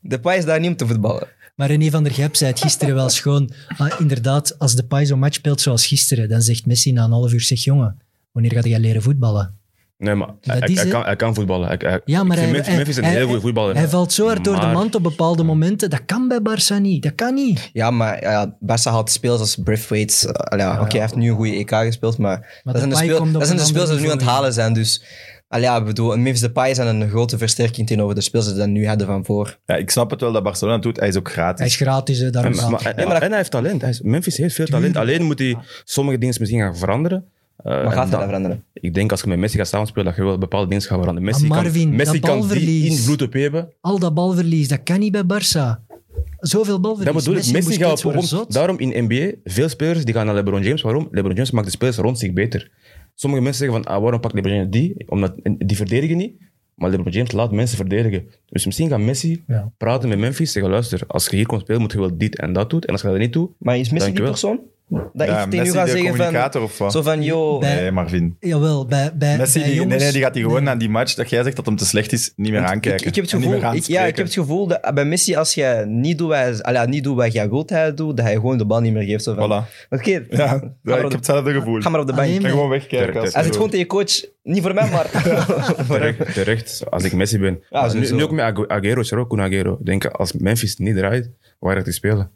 de Pai is daar niet om te voetballen.
Maar René van der Gijp zei het gisteren wel schoon. Ah, inderdaad, als de Pai zo'n match speelt zoals gisteren, dan zegt Messi na een half uur, zeg jongen, wanneer gaat jij leren voetballen?
Nee, maar hij,
is
hij
het.
kan, hij kan voetballen. Hij, hij,
Ja,
ik
maar
vind
hij,
Memphis,
hij-
Memphis is een
hij-
heel goede voetballer.
Hij valt zo hard door de
Maar-
mand op bepaalde momenten. Dat kan bij Barça niet. Dat kan niet.
Ja, maar ja, Barca haalt speels als Braithwaite. Eh, ja, Oké, hij heeft nu een goede EK gespeeld, maar, dat
de
zijn de,
Pai
speel,
komt op
dat zijn de
een
speels die
ander
we nu aan het
niveau,
halen zijn. Dus al ja, ik bedoel, Memphis Depay zijn een grote versterking tegenover de speels die we nu hadden van voor.
Ja, ik snap het wel dat Barcelona het doet. Hij is ook
Hij is
gratis.
gratis, hè, daarom
Maar-
gaat
maar-
hij.
en, hij heeft talent. Hij is- Memphis heeft veel talent. Alleen moet hij sommige dingen misschien gaan veranderen. Eh, en
Maar gaat hij
dan-
dat veranderen?
Ik denk als je met Messi gaat samenspelen, dat je wel bepaalde dingen gaat veranderen. Messi
Maar Marvin,
kan, Messi
dat
kan die
balverlies.
invloed op hebben.
Al dat balverlies, dat kan niet bij Barça. Zoveel balverlies.
Dat bedoel ik. Messi
Busquets
gaat
worden
waarom,
zot.
daarom in NBA, veel spelers die gaan naar LeBron James. Waarom? LeBron James maakt de spelers rond zich beter. Sommige mensen zeggen van, ah, waarom pakt LeBron James die? Omdat en die verdedigen niet. Maar LeBron James laat mensen verdedigen. Dus misschien gaat Messi
Ja.
praten met Memphis. Zeggen, luister, als je hier komt spelen, moet je wel dit en dat doen. En als je dat niet doet...
Maar is Messi die
Dankjewel.
persoon? Dat
Ja,
ik tegen u
Messi
ga
de
zeggen
communicator
van...
of wat?
Zo van, yo...
Bij-
Nee, Marvin.
Jawel, bij, bij,
Messi,
bij
die,
jongens...
nee, nee, die gaat die gewoon naar die match dat jij zegt dat hem te slecht is, niet meer aankijken.
Ik, ik heb het
En niet meer
gevoel, ik, ja, ik
aanspreken.
heb het gevoel dat bij Messi, als jij niet doet, wat hij- al ja, niet doet wat jij wilt hij doet, dat hij gewoon de bal niet meer geeft. Zo van,
Voilà.
Oké,
Ja,
ga,
ja,
maar
ik
op
heb
de-
hetzelfde gevoel.
ga maar op de
Alleen
bank.
En
maar-
gewoon wegkijken.
Hij
als
Hij
je
zit
zo-
gewoon tegen coach, niet voor mij, maar voor hem.
Terecht, terecht, als ik Messi ben.
Ja,
Maar nu,
sowieso.
nu ook met Agu- Aguero, is er ook Kun Aguero. Ik Denk, als Memphis niet draait, waar gaat hij spelen?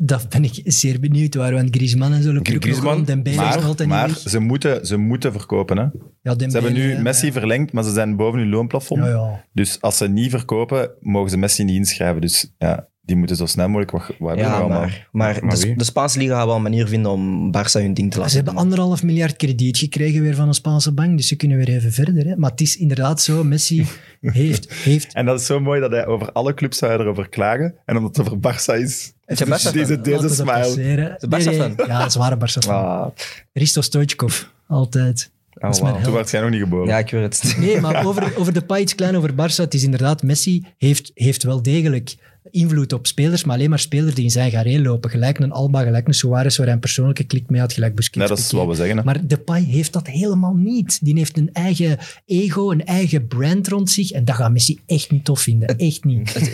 Dat ben ik zeer benieuwd waar, want Griezmann en zo lopen ook nog
Griezmann,
rond. Dembele is nog
Maar,
altijd
maar
niet weg.
ze, moeten, ze moeten verkopen. Hè.
Ja, Dembele,
Ze hebben nu
hè,
Messi
ja.
verlengd, maar ze zijn boven hun loonplafond.
Ja, ja.
Dus als ze niet verkopen, mogen ze Messi niet inschrijven. Dus ja, die moeten zo snel mogelijk. Wat, wat hebben we
Ja,
nou allemaal?
maar, maar,
Maar
de,
wie?
de Spaanse liga gaat wel een manier vinden om Barça hun ding te
Ze
laten
hebben
doen.
anderhalf miljard krediet gekregen weer van een Spaanse bank, dus ze kunnen weer even verder. Hè. Maar het is inderdaad zo, Messi heeft, heeft
En dat is zo mooi dat hij over alle clubs zou hij erover klagen. En omdat het over Barça is.
Is hij Barça-fan?
deze, deze
laten we dat
smile.
passeren.
Is hij
Nee, nee.
Barça-fan?
Ja, zware Barça fan.
Ah, oh,
Risto Stojkov, altijd. Dat is mijn
wauw.
Toen
held.
werd jij nog niet geboren.
Ja, ik weet het.
Nee, maar over, over de paai iets klein over Barça. Het is inderdaad, Messi heeft, heeft wel degelijk invloed op spelers, maar alleen maar spelers die in zijn gareel lopen. Gelijk een Alba, gelijk een Suarez, waar hij een persoonlijke klik mee had, gelijk Busquets.
nee, dat is
Piqué.
wat we zeggen. hè.
Maar Depay heeft dat helemaal niet. Die heeft een eigen ego, een eigen brand rond zich. En dat gaat Messi echt niet tof vinden. Echt niet.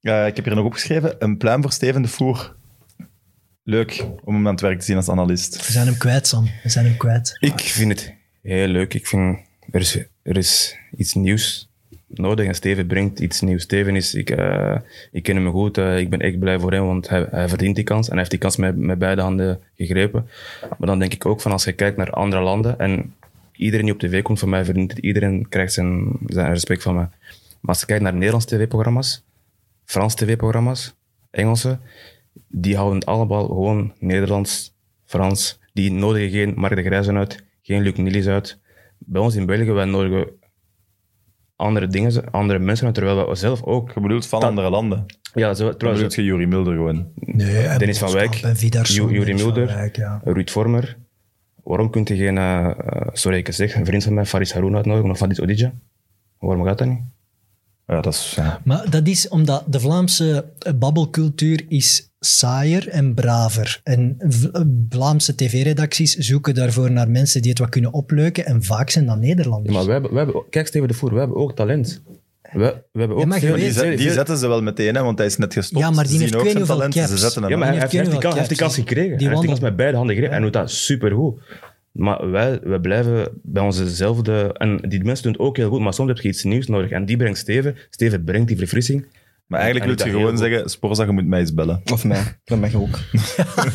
Eh, ik heb hier nog opgeschreven: een pluim voor Steven de Voer. Leuk om hem aan het werk te zien als analist.
We zijn hem kwijt, Sam. We zijn hem kwijt.
Ik vind het heel leuk. Ik vind, er is, er is iets nieuws nodig en Steven brengt iets nieuws. Steven is, ik, eh, ik ken hem goed. eh, ik ben echt blij voor hem, want hij, hij verdient die kans. En hij heeft die kans met, met beide handen gegrepen. Maar dan denk ik ook van als je kijkt naar andere landen en iedereen die op tv komt van mij verdient het. Iedereen krijgt zijn, zijn respect van mij. Maar als je kijkt naar Nederlandse tv-programma's, Frans tv-programma's, Engelse, die houden het allemaal gewoon Nederlands, Frans. Die nodigen geen Mark de Grijzen uit, geen Luc Nilis uit. Bij ons in België, wij nodigen andere dingen, andere mensen, terwijl we zelf ook.
Je bedoelt van
Dat-
andere landen.
Ja, zo,
Dan
trouwens,
bedoelt je Juri Mulder gewoon.
Nee,
Dennis van Wijk,
En Vidarsson,
Ju- Juri
Dennis van
Mulder.
Wijk, ja.
Ruud Vormer. Waarom kunt je geen, eh, eh, sorry ik het zeg, een vriend van mij, Faris Haroun uitnodigen of Fadis Odija? Waarom gaat dat niet?
Ja, dat is... Ja.
Maar dat is omdat de Vlaamse eh, babbelcultuur is saaier en braver. En eh, V- Vlaamse tv-redacties zoeken daarvoor naar mensen die het wat kunnen opleuken. En vaak zijn dat
Ja,
Nederlanders.
maar we hebben, wij hebben, kijk Steven de Voer, we hebben ook talent. We, we hebben ook
Ja, maar je
veel-
Maar die,
weet-
zet- die
veel-
zetten ze wel meteen, hè, want hij is net gestopt.
Ja, maar die
Ze
heeft
zien ook
ik weet
zijn
niet hoeveel
talent, ze
caps.
zetten hem
Ja, maar
aan.
hij,
heeft
hij heeft
kunnen wel
die kans, heeft die
caps.
kans gekregen.
Die
hij heeft die
wandelt.
kans met beide handen gekregen en doet dat supergoed. Maar wij, wij blijven bij onzezelfde... En die mensen doen het ook heel goed, maar soms heb je iets nieuws nodig. En die brengt Steven. Steven brengt die verfrissing.
Maar eigenlijk
En
wil je
dat
gewoon
heel
zeggen, Sporza, je moet mij eens bellen.
Of mij. Dat mag ook.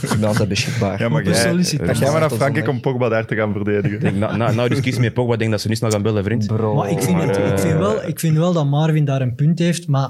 ik ben altijd beschikbaar.
Ja, maar
Open
jij,
sollicitatie.
ga jij maar naar
Tot
Frankrijk om
zondag.
Pogba daar te gaan verdedigen.
Ik denk, nou, nou, nou dus kies meer Pogba. Ik denk dat ze niet snel gaan bellen, vriend.
Bro.
Maar ik vind,
Maar,
het,
eh,
ik, vind wel, ik vind wel dat Marvin daar een punt heeft, maar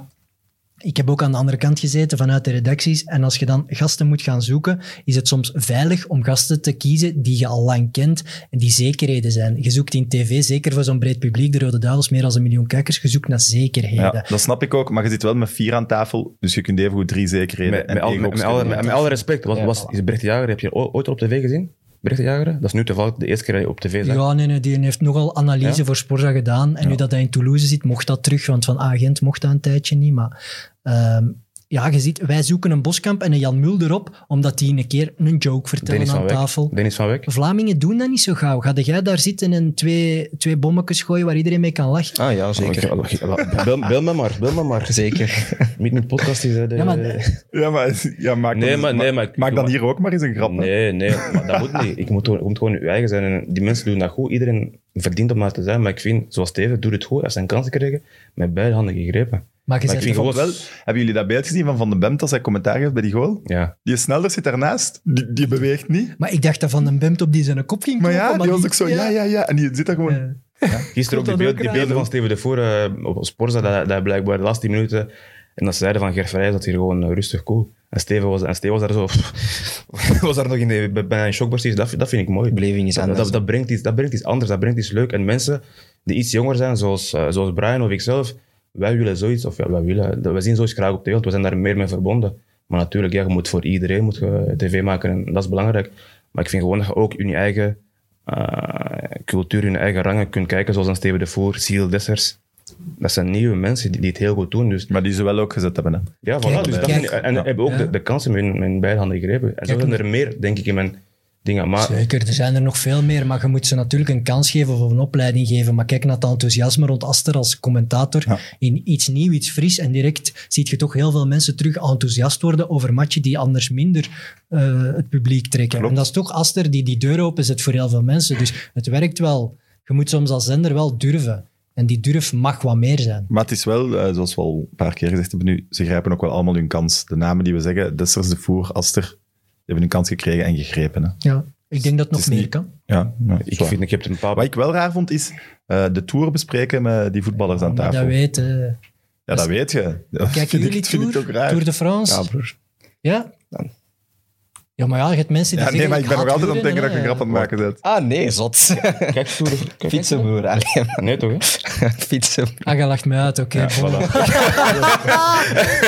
ik heb ook aan de andere kant gezeten vanuit de redacties. En als je dan gasten moet gaan zoeken, is het soms veilig om gasten te kiezen die je al lang kent en die zekerheden zijn. Je zoekt in tv, zeker voor zo'n breed publiek, de Rode Duivels, meer dan een miljoen kijkers, je zoekt naar
Ja,
zekerheden.
dat snap ik ook, maar je zit wel met vier aan tafel, dus je kunt even goed drie zekerheden
Met,
en
met, al,
één
met, met
opstellen.
alle, met, met alle respect. Was,
Ja,
was,
voilà.
is Brecht de Jager, heb je o- ooit op tv gezien? Brecht de Jager? Dat is nu toevallig de eerste keer dat je op tv zag.
Ja, nee, nee, die heeft nogal analyse
Ja?
voor Sporza gedaan. En nu dat hij in Toulouse zit, mocht dat terug, want van agent mocht dat een tijdje niet. Maar ehm, ja, je ziet, wij zoeken een Boskamp en een Jan Mulder op, omdat die een keer een joke vertellen
Dennis van
aan
Wijk.
tafel.
Dennis van Wijk.
Vlamingen doen dat niet zo gauw. Ga jij daar zitten en twee, twee bommetjes gooien waar iedereen mee kan lachen?
Ah ja, zeker.
Oh, Bel, bel me maar, bel me maar.
Zeker.
Niet met podcast is eh, de...
Ja, maar-
Ja, maar, ja, maak,
Nee,
dan,
maar- nee, maar ik-
maak dan
maar-
hier ook maar eens een grap. hè.
Nee, nee, maar dat moet niet. Ik moet, gewoon- je moet gewoon je eigen zijn. En die mensen doen dat goed. Iedereen verdient om daar te zijn. Maar ik vind, zoals Steven, doet het goed. Hij heeft zijn kansen gekregen. Met beide handen gegrepen.
Maar je
Maar ik
zegt
vind
toch-
gewoon wel...
Hebben jullie dat beeld gezien van Van de Bemt als hij commentaar geeft bij die goal?
Ja.
Die sneller zit daarnaast, die, die beweegt niet.
maar ik dacht dat Van den Bemt op die zijn kop ging
Maar
kloppen,
ja, die was
die-
ook zo, ja, ja, ja. En die zit daar gewoon...
Eh,
Gisteren ook die,
Klopt dat
beeld,
ook
die
raar,
beelden van Steven de Voer eh, op op Sporza, dat, dat blijkbaar de laatste minuten... En dat zeiden van Gert Verheij, dat hier gewoon eh, rustig cool. En Steven was, en Steven was daar zo... was daar nog in, de- bij- bijna in shock precies. Dat, dat vind ik mooi.
Bleef in iets
dat,
anders.
dat, dat brengt iets, dat brengt iets anders, dat brengt iets leuk. En mensen die iets jonger zijn, zoals, eh, zoals Brian of ikzelf, wij willen zoiets, of ja, wij, willen, dat- wij zien zoiets graag op tv, want we zijn daar meer mee verbonden. Maar natuurlijk, ja, je moet voor iedereen moet je tv maken en dat is belangrijk. Maar ik vind gewoon dat je ook in je eigen eh, cultuur, in je eigen rangen kunt kijken, zoals een Steven de Voer, Cyril Dessers. Dat zijn nieuwe mensen die, die het heel goed doen. Dus,
Maar die ze wel ook gezet hebben, hè.
ja, voilà,
Kijk,
dus dat
kijk.
vind ik- en
Ja.
hebben ook
Ja.
de, de kansen met hun- met hun beide handen gegrepen. En zo
Kijk,
zijn er meer, denk ik, in mijn dingen.
Ah.
Maar
Zeker, er zijn er nog veel meer, maar je moet ze natuurlijk een kans geven of een opleiding geven. Maar kijk naar het enthousiasme rond Aster als commentator
Ja.
in iets nieuw, iets fris. En direct ziet je toch heel veel mensen terug enthousiast worden over matchen die anders minder eh, het publiek trekken.
Klopt.
En dat is toch Aster die die deur openzet voor heel veel mensen. Dus het werkt wel. Je moet soms als zender wel durven. En die durf mag wat meer zijn.
Maar het is wel, eh, zoals we al een paar keer gezegd hebben nu, ze grijpen ook wel allemaal hun kans. De namen die we zeggen, Dessers, De Voer, Aster, die hebben hun kans gekregen en gegrepen. Hè.
Ja. Ik denk dat het nog
is
meer
niet-
kan.
Ja, ja,
ik
zo.
vind, ik heb het een paar...
Wat ik wel raar vond, is eh, de Tour bespreken met die voetballers aan
Maar
tafel.
dat eh, weten.
ja, dat weet je. Dat vind
Kijken
ik-
jullie
dat vind
Tour?
ik ook raar.
Tour de France?
Ja, broer.
Ja?
Dan.
Ja, maar ja, je hebt mensen die
Ja, nee,
zeggen,
maar ik ben
haat
nog altijd aan het denken
wielrennen,
dat je een grap aan het
eh,
maken bent.
Ah nee, zot.
Kijk, Tour- kijk,
Fietsen, broer. Allee,
Nee, toch? Hè?
maar Fietsen.
Ah, je lacht mij uit, oké. bon.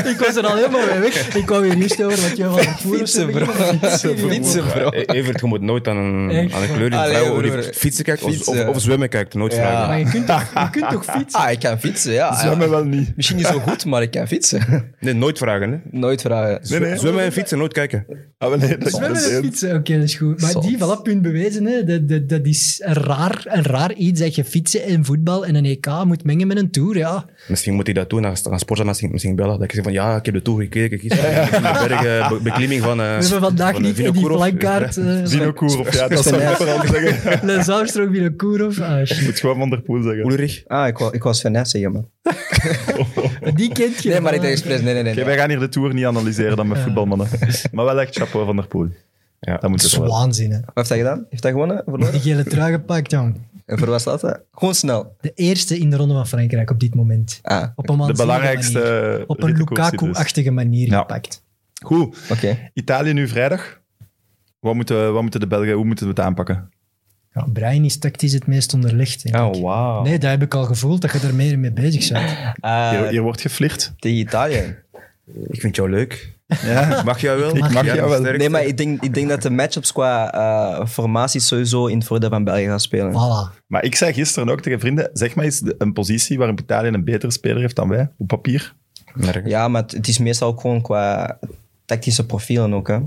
ik was er al helemaal mee weg. Ik kwam hier niet over wat je van de voer of zo
Fietsen, bro.
begint.
Fietsen, bro.
Eh, Evert, je moet nooit aan een,
Echt?
aan een kleur in
Allee,
vrouwen of
broer.
die fietsen kijken of,
Fietsen.
of, of zwemmen kijken. Nooit
Ja.
vragen.
Maar je kunt, toch, je kunt toch fietsen?
Ah, ik kan fietsen, ja.
Zwemmen wel niet.
Misschien niet zo goed, maar ik kan fietsen.
Nee, nooit vragen. Hè.
Nooit vragen.
Nee, nee.
Zwemmen en fietsen, nooit kijken.
Ah, maar nee, dat
We hebben
dat is
het fietsen, oké, dat is goed. Maar
Zot.
die, voilà, punt bewezen. Hè. Dat, dat, dat is een raar, een raar iets dat je fietsen en voetbal en een EK moet mengen met een tour, ja.
Misschien moet hij dat doen, gaan sporten, misschien, misschien bellen. Dat ik zeg van, ja, ik heb de Tour gekeken gisteren. in de bergen, be- beklimming van... eh,
We hebben vandaag
van, eh,
niet die
Vinokourov.
flankkaart. eh,
Dinocour, of ja, dat zou ik vooral zeggen.
Les Armstrong, Wielenkourov. Ah, shit.
Je moet gewoon Van der Poel zeggen.
Ulrich.
Ah, ik wou, ik wou Sven Nys zeggen, man.
Die kent je.
Nee, maar ik
voilà.
eh,
denk expres, nee, nee, nee.
Oké, wij gaan hier de Tour niet analyseren dan met voetbalmannen. Maar wel echt chapeau Van der Poel.
Ja.
Dat moet
Dat
het
is
wel.
waanzin, hè.
Wat heeft hij gedaan? Heeft hij gewonnen? Verloren?
Die gele trui gepakt, jong.
En voor wat staat hij? Gewoon snel.
De eerste in de Ronde van Frankrijk op dit moment.
Ah,
Op een
De
waanzinnige manier.
belangrijkste
Op een
rittenkoers die er is.
Lukaku-achtige manier
Ja.
gepakt.
Goed,
oké.
Italië nu vrijdag. Wat moeten, wat moeten de Belgen, hoe moeten we het aanpakken?
Ja, Brian is tactisch het meest onderlegd. denk
Oh,
ik.
wauw.
Nee, dat heb ik al gevoeld, dat je er meer mee bezig bent.
Ah,
Hier, hier wordt geflirt.
tegen Italië.
Ik vind jou leuk.
Ja,
Ik mag jou wel.
Ik mag jou wel.
sterk.
Nee, maar ik denk, ik denk dat de matchups qua eh, formaties sowieso in het voordeel van België gaan spelen.
Voilà.
maar ik zei gisteren ook tegen vrienden, zeg maar eens de- een positie waarin Italië een betere speler heeft dan wij, op papier.
Nergens.
Ja, maar het, het is meestal ook gewoon qua tactische profielen ook. Hè.
Ja,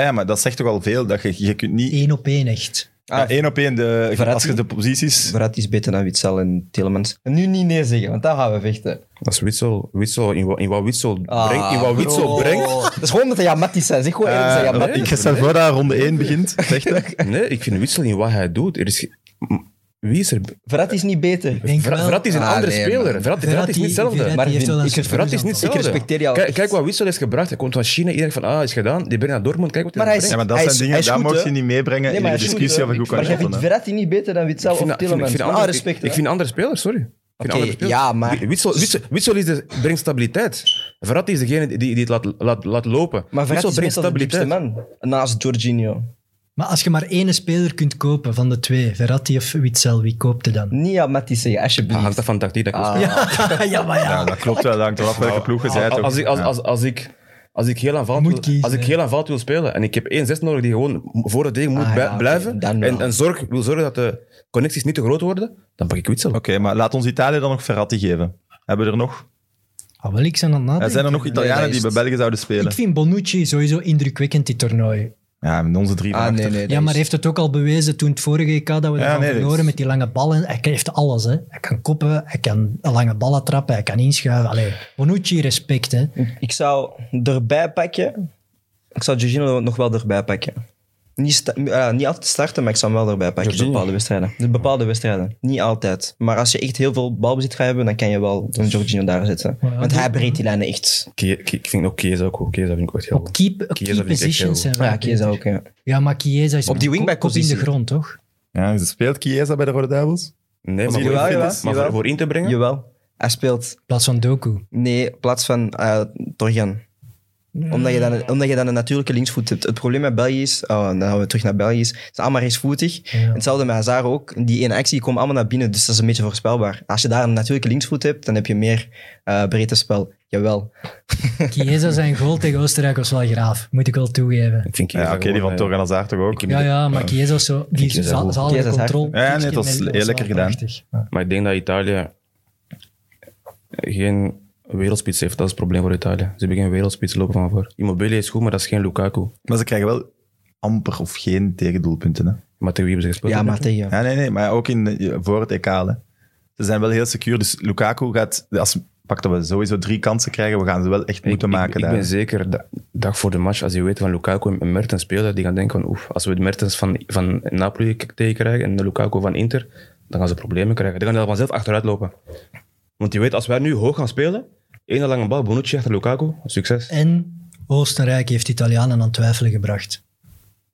ja, maar dat zegt toch al veel, dat je, je kunt niet
Eén op één echt.
ja,
Ah,
één op één, de,
Verratti?
als je de posities...
Verratti is beter dan Witzel en Tillemans. En nu niet nee zeggen, want daar gaan we vechten.
Dat is Witsel. Witsel in, wat- in wat Witsel brengt. In wat Witsel
Ah, bro.
brengt.
Oh. Dat is gewoon dat hij jamatisch zijn. Zeg gewoon eerlijk dat hij
Eh,
jamatisch
ik stel voor dat ronde 1 begint. Vechten.
Nee, ik vind Witsel in wat hij doet. Er is... ge- M- Wie is er?
Verratti is niet beter.
Denk
Ver-
wel-
Verratti is een
Ah,
andere
nee,
speler.
man.
Verratti, Verratti is niet hetzelfde.
Verratti
Maar
heeft
Vin-
wel een
ik-
soort
Verratti is niet
voorbeeld.
hetzelfde.
Ik respecteer jou.
Kijk, kijk wat Witsel heeft gebracht. Hij komt van China. Iedereen denkt van, ah, is gedaan. Die brengt naar Dortmund. Kijk wat hij
Maar hij is-
brengt.
Ja, maar dat
Hij
zijn
is-
dingen,
hij is
daar
goed,
mocht
hè?
je niet meebrengen
Nee,
in de
hij is goed,
discussie
hè.
over goed
Maar jij vindt
kan
Verratti niet beter dan Witzel
Ik vind,
of
ik vind, ik
Tillemans.
vind
Ah,
andere,
respect.
ik, ik vind andere spelers, sorry. Ik vind
Oké,
andere spelers.
ja, maar-
Wi- Witsel, Witsel, Witsel is de, brengt stabiliteit. Verratti is degene die, die het laat, laat, laat lopen.
Maar Verratti
Witsel
is meestal de diepste man. Naast Jorginho.
Maar als je maar één speler kunt kopen van de twee, Verratti of Witzel, wie koopt er dan?
Niet jamatisch zeggen,
Ah,
alsjeblieft.
hangt af van de tactiek dat ik wil spelen.
Ja, ja maar ja.
Ja, dat klopt wel. Dat hangt er af welke ploeg je zijt.
Als, als, ik- als, als, als ik... Als ik, heel aanvallend
Moet
wil-
kiezen,
als ik
hè.
heel aanvallend wil spelen en ik heb één zes nodig die gewoon voor het ding moet
Ah,
bij-
ja, oké,
blijven
dan wel.
en, en zorg, wil zorgen dat de connecties niet te groot worden, dan pak ik Witsel.
Oké, maar laat ons Italië dan nog Verratti geven. Hebben we er nog?
Ah, wel, ik ben aan het
Er
nadenken.
zijn er nog Italianen
dat is
die bij
het.
België zouden spelen?
Ik vind Bonucci sowieso indrukwekkend, dit toernooi.
Ja, met onze drie van
Ah,
achter.
nee, nee. dat
ja, maar
is-
heeft het ook al bewezen toen het vorige EK dat we
Ja,
ervan
nee, dat
verloren
is-
met die lange ballen. Hij heeft alles, hè. Hij kan koppen, hij kan lange ballen trappen, hij kan inschuiven. Allee, Bonucci, respect, hè.
Ik zou erbij pakken. Ik zou Jorginho nog wel erbij pakken. Niet, sta- eh, niet altijd starten, maar ik zou hem wel erbij pakken.
Jorginho?
Bepaalde wedstrijden. Dus bepaalde wedstrijden. Niet altijd. Maar als je echt heel veel balbezit gaat hebben, dan kan je wel een Jorginho daar zetten.
Ja,
Want
die-
hij breekt die lijnen echt.
Kie- Kie- Ik vind ook Chiesa ook goed. Chiesa vind ik ook echt heel
Op
goed.
key, op
Chiesa
key
vind ik echt
positions zijn
heel-
Ja,
wel
Chiesa
beter.
ook. Ja.
Ja, maar Chiesa is
Op die
kop-
wingback-positie.
kop in de grond, toch?
Ja, dus speelt Chiesa bij de Rode Duivels?
Nee,
Als
maar,
hij
voor,
er wel
maar
is,
voor-
jawel.
voor in te brengen.
Jawel. Hij speelt
In plaats van Doku.
Nee, in plaats van eh Torgan. Omdat, je dan, omdat je dan een natuurlijke linksvoet hebt. Het probleem met België is, oh, dan gaan we terug naar België, is, het is allemaal rechtsvoetig.
Ja.
Hetzelfde met Hazard ook. Die ene actie komt allemaal naar binnen, dus dat is een beetje voorspelbaar. Als je daar een natuurlijke linksvoet hebt, dan heb je meer eh breedte spel. Jawel.
Chiesa zijn goal tegen Oostenrijk was wel graaf, moet ik wel toegeven.
Ik vind
Ja,
Chiesa
oké, die
gewoon,
van
eh,
Torgan Hazard toch ook?
ik-
Ja, ja, maar Chiesa is zo, die
Chiesa is
zal-
goed.
zal de
Chiesa is hard.
controle...
Ja, nee, dat is
heel
eerlijker gedaan.
Maar ik denk dat Italië geen wereldspits heeft. Dat is het probleem voor Italië. Ze hebben geen wereldspits lopen van voor. Immobile is goed, maar dat is geen Lukaku.
Maar ze krijgen wel amper of geen tegendoelpunten. Hè?
Maar tegen wie hebben ze gespeeld?
Ja, maar tegen.
Ja, nee, nee, maar ook in, eh, voor het EK. Hè. Ze zijn wel heel secuur, dus Lukaku gaat... Als, pak dat we sowieso drie kansen krijgen, we gaan ze wel echt
Ik-
moeten
ik,
maken
ik,
daar.
ben zeker, da- dag voor de match, als je weet van Lukaku en Mertens spelen, die gaan denken van oef, als we de Mertens van, van Napoli k- tegenkrijgen en de Lukaku van Inter, dan gaan ze problemen krijgen. Die gaan daar vanzelf achteruit lopen. Want je weet, als wij nu hoog gaan spelen, één lange bal, Bonucci achter Lukaku, succes.
En Oostenrijk heeft de Italianen aan het twijfelen gebracht.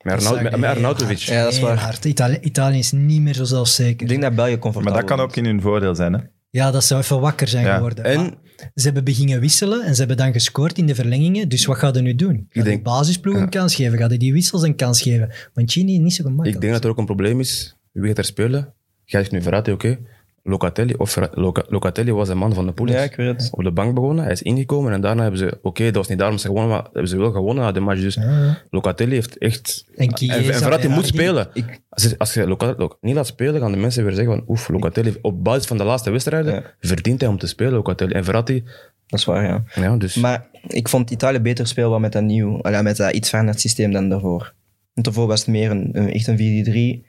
Met, Arnaut, met, met Arnautovic.
Ja, dat is
Heel
waar.
hard. Itali- Italië is niet meer zo
Ik
zelfzeker.
denk dat België comfortabel
maar dat kan
wordt.
ook in hun voordeel zijn. Hè?
Ja, dat zou even wakker zijn
Ja.
geworden.
En-
Maar ze hebben beginnen wisselen en ze hebben dan gescoord in de verlengingen. Dus wat gaat er nu doen? Gaat
denk-
de basisploeg een kans geven? Gaat hij die wissels een kans geven? Mancini is niet zo gemakkelijk.
Ik denk dat er ook een probleem is. Wie gaat er spelen? Jij zegt nu Verratti, oké. Locatelli, of Verra- Loca- Locatelli was de man van de pool.
Ja, ik weet het.
Op de bank begonnen, hij is ingekomen en daarna hebben ze, oké, dat was niet daarom ze gewonnen, maar hebben ze wel gewonnen na de match. Dus
Ja.
Locatelli heeft echt.
En Chiesa
en Verratti
bij Argentinië.
moet spelen. Als je, als je Locatelli Loc- niet laat spelen, gaan de mensen weer zeggen: van, Oef, Locatelli, op basis van de laatste wedstrijden
Ja.
verdient hij om te spelen. Locatelli. En Verratti,
Dat is waar, ja.
ja, dus.
Maar ik vond Italië beter speelbaar met dat nieuw, allee, met dat iets veranderd systeem dan daarvoor. Want daarvoor was het meer een, een- echt een 4-3.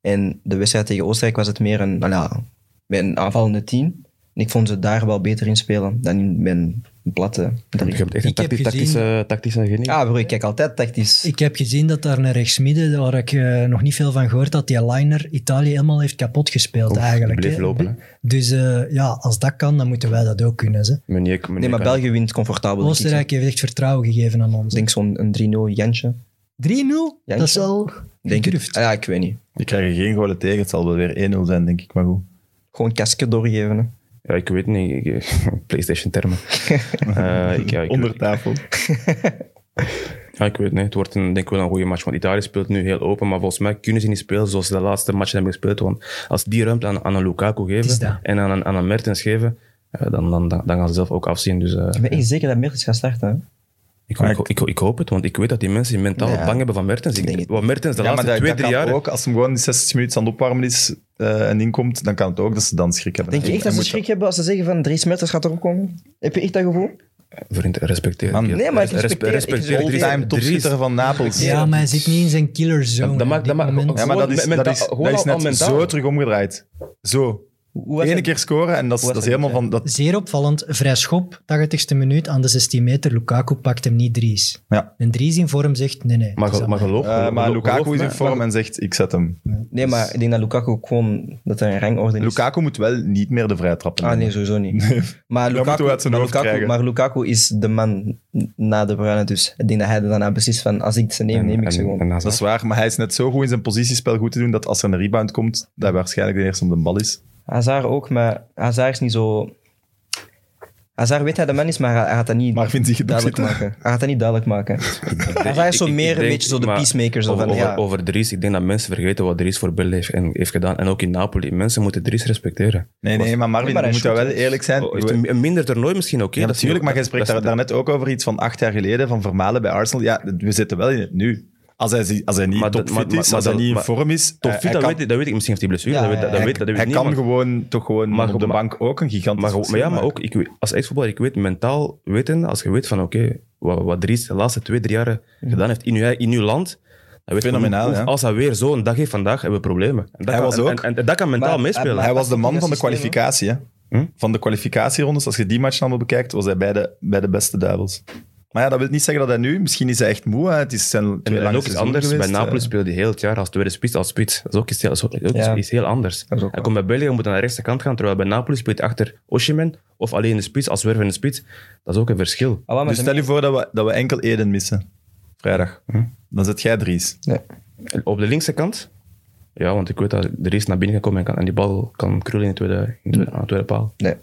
En de wedstrijd tegen Oostenrijk was het meer een, allee, met een aanvallende 10. En ik vond ze daar wel beter in spelen dan in mijn platte
je
drie.
hebt echt een
Ik heb
tacti-
gezien-
tactische, tactische genie.
Ah bro, ik kijk altijd tactisch.
Ik heb gezien dat daar een rechtsmidden, waar ik eh, nog niet veel van gehoord had, die liner Italië helemaal heeft kapot gespeeld
Oef,
eigenlijk.
die bleef
hè.
lopen, hè.
Dus eh, ja, als dat kan, dan moeten wij dat ook kunnen. Ze.
Meneer, meneer
nee, maar
kan-
België wint comfortabel. denk ik.
Oostenrijk heeft echt vertrouwen gegeven aan ons.
Ik denk zo'n een 3-0 Jantje.
3-0? Dat is wel
Denk ik.
gedurfd.
Ah, ja, ik weet niet.
Die krijgen geen golen tegen, het zal wel weer 1-0 zijn, denk ik. Maar goed.
Gewoon kasken doorgeven. hè.
Ja, ik weet niet. ik- PlayStation termen. Eh, ik, ja, ik,
Onder tafel.
Ja, ik weet niet. Het wordt een, denk ik wel een goede match. Want Italië speelt nu heel open. Maar volgens mij kunnen ze niet spelen zoals ze de laatste match hebben gespeeld. Want als die ruimte aan, aan een Lukaku
is
geven
dat.
en aan een, aan een Mertens geven, eh, dan, dan, dan, dan gaan ze zelf ook afzien. Dus, eh,
Ik ben echt zeker dat Mertens gaat starten. hè.
ik, ik, ik, ik hoop het, want ik weet dat die mensen mentaal
Ja.
bang hebben van Mertens.
Ik denk
Ik,
het.
wat Mertens de laatste twee, drie jaar...
ook. Als hem gewoon in 60 minuten aan het opwarmen is eh, en inkomt, dan kan het ook dat ze dan schrik hebben.
Denk je
Hij
echt dat ze
moet-
schrik hebben als ze zeggen van Dries Mertens gaat erop komen? Heb je echt dat gevoel?
Vriend, respecteer.
Man.
die-
Nee, maar ik
res-
respecteer-
respecteer
ik-
Dries-
All-time topschutter
Dries.
van Napels.
Ja, maar hij zit niet in zijn killer zone.
dat
hè,
maakt-
op dit
dat maakt-
moment.
Ja, maar dat is, dat
Gewoon
is,
menta-
dat is
gewoon al
net
mentaal.
zo terug omgedraaid. Zo.
Hoe was
Eén
dat-
keer scoren en dat is,
Hoe
dat is
was dat?
helemaal van... Dat,
Zeer opvallend, vrij schop, 80ste minuut, aan de 16 meter. Lukaku pakt hem niet Dries.
Ja.
En Dries in vorm zegt, nee, nee.
Maar,
het is
ge- maar
aan mij.
geloof
Eh, maar
geloof-
Lukaku
geloof
is in
me.
vorm en zegt, ik zet hem.
Nee, maar ik denk dat Lukaku ook gewoon dat er een
dus-
rangorde is.
Dus- Lukaku moet wel niet meer de vrije trappen
Ah nee,
nemen.
sowieso niet. Maar
Dat moeten
Lukaku,
we uit zijn
maar,
hoofd
Lukaku,
krijgen.
maar Lukaku is de man na de Bruyne, dus ik denk dat hij er daarna beslist van als ik ze neem, neem ik ze
En-
gewoon.
en- en
Dat is waar, maar hij is net zo goed in zijn positiespel goed te doen dat als er een rebound komt, dat hij waarschijnlijk de eerste om de bal is.
Hazard ook, maar Hazard is niet zo... Hazard weet hij de man is, maar hij hij gaat dat niet
Maar vindt hij gedoe
duidelijk
zitten?
maken. Hij gaat dat niet duidelijk maken. Hazard
Ik-
is zo
ik- ik
meer een
denk-
beetje zo de
maar
peacemaker. Zo
over,
van, ja.
over, over Dries, ik denk dat mensen vergeten wat Dries voor Bell heeft, en, heeft gedaan. En ook in Napoli. Mensen moeten Dries respecteren.
Nee, nee, maar Marvin, je
Nee, maar hij
moet
is
daar
goed,
wel eerlijk zijn.
Oh, heeft een, een minder toernooi misschien, oké.
ja,
dat is
natuurlijk, maar jij
dat-
spreekt
dat
daar,
is-
daarnet ook over iets van acht jaar geleden, van Vermalen bij Arsenal. Ja, we zitten wel in het nu. Als hij, zie- als hij niet
Maar dat-
topfit
maar- maar-
is,
maar
als hij
dat-
niet in
maar-
vorm is... eh, hij-
Top fit,
hij
dat,
kan-
weet, ik- dat weet ik misschien, heeft hij blessure.
Ja,
dat weet, dat,
ja,
dat
ja.
weet, dat weet
Hij
niet,
kan
maar-
gewoon toch gewoon
Maar
op de
gewoon-
bank ook een gigantisch
Maar, gewoon- maar ja,
verschil
maar
maken.
ook ik, weet- als ex-voetballer, ik weet mentaal weten, als je weet van oké, wat, wat Dries de laatste twee, drie jaren gedaan heeft in uw, in uw land. Dan weet je van,
Mhm. Fenomenaal,
oef,
ja.
Als hij weer zo'n dag heeft vandaag, hebben we problemen. En dat
Hij
kan,
was
en-
ook.
En, en dat kan mentaal
Maar-
meespelen.
maar-
Hij was de man
Dat
van de
systeem, hè?
kwalificatie. Hè?
Hm?
Van de kwalificatierondes, als je die match allemaal bekijkt, was hij bij de, bij de beste duivels. Maar ja, dat wil niet zeggen dat hij nu... Misschien is hij echt moe. Hè? Het is zijn twee
En, en
lange
ook iets
seizoenen
anders.
geweest,
bij Napoli
eh.
speelde hij heel het jaar als tweede spits, als spits. Dat is ook iets heel, is ook iets-
Ja.
iets heel
Dat
anders.
is ook
Hij
waar.
komt bij België, moet naar de rechterkant gaan, terwijl bij Napoli speelt hij achter Oshimen of alleen de spits, als wervende spits. Dat is ook een verschil.
Ah, wel, maar
Dus
de-
stel je voor dat we, dat we enkel Eden missen. Vrijdag. Dan zet jij Dries.
Nee.
En Op de linkse kant, ja, want ik weet dat er is naar binnen gekomen en, kan, en die bal kan krullen in de tweede, in de
Mm.
tweede- aan de tweede paal.
Nee,
Oh.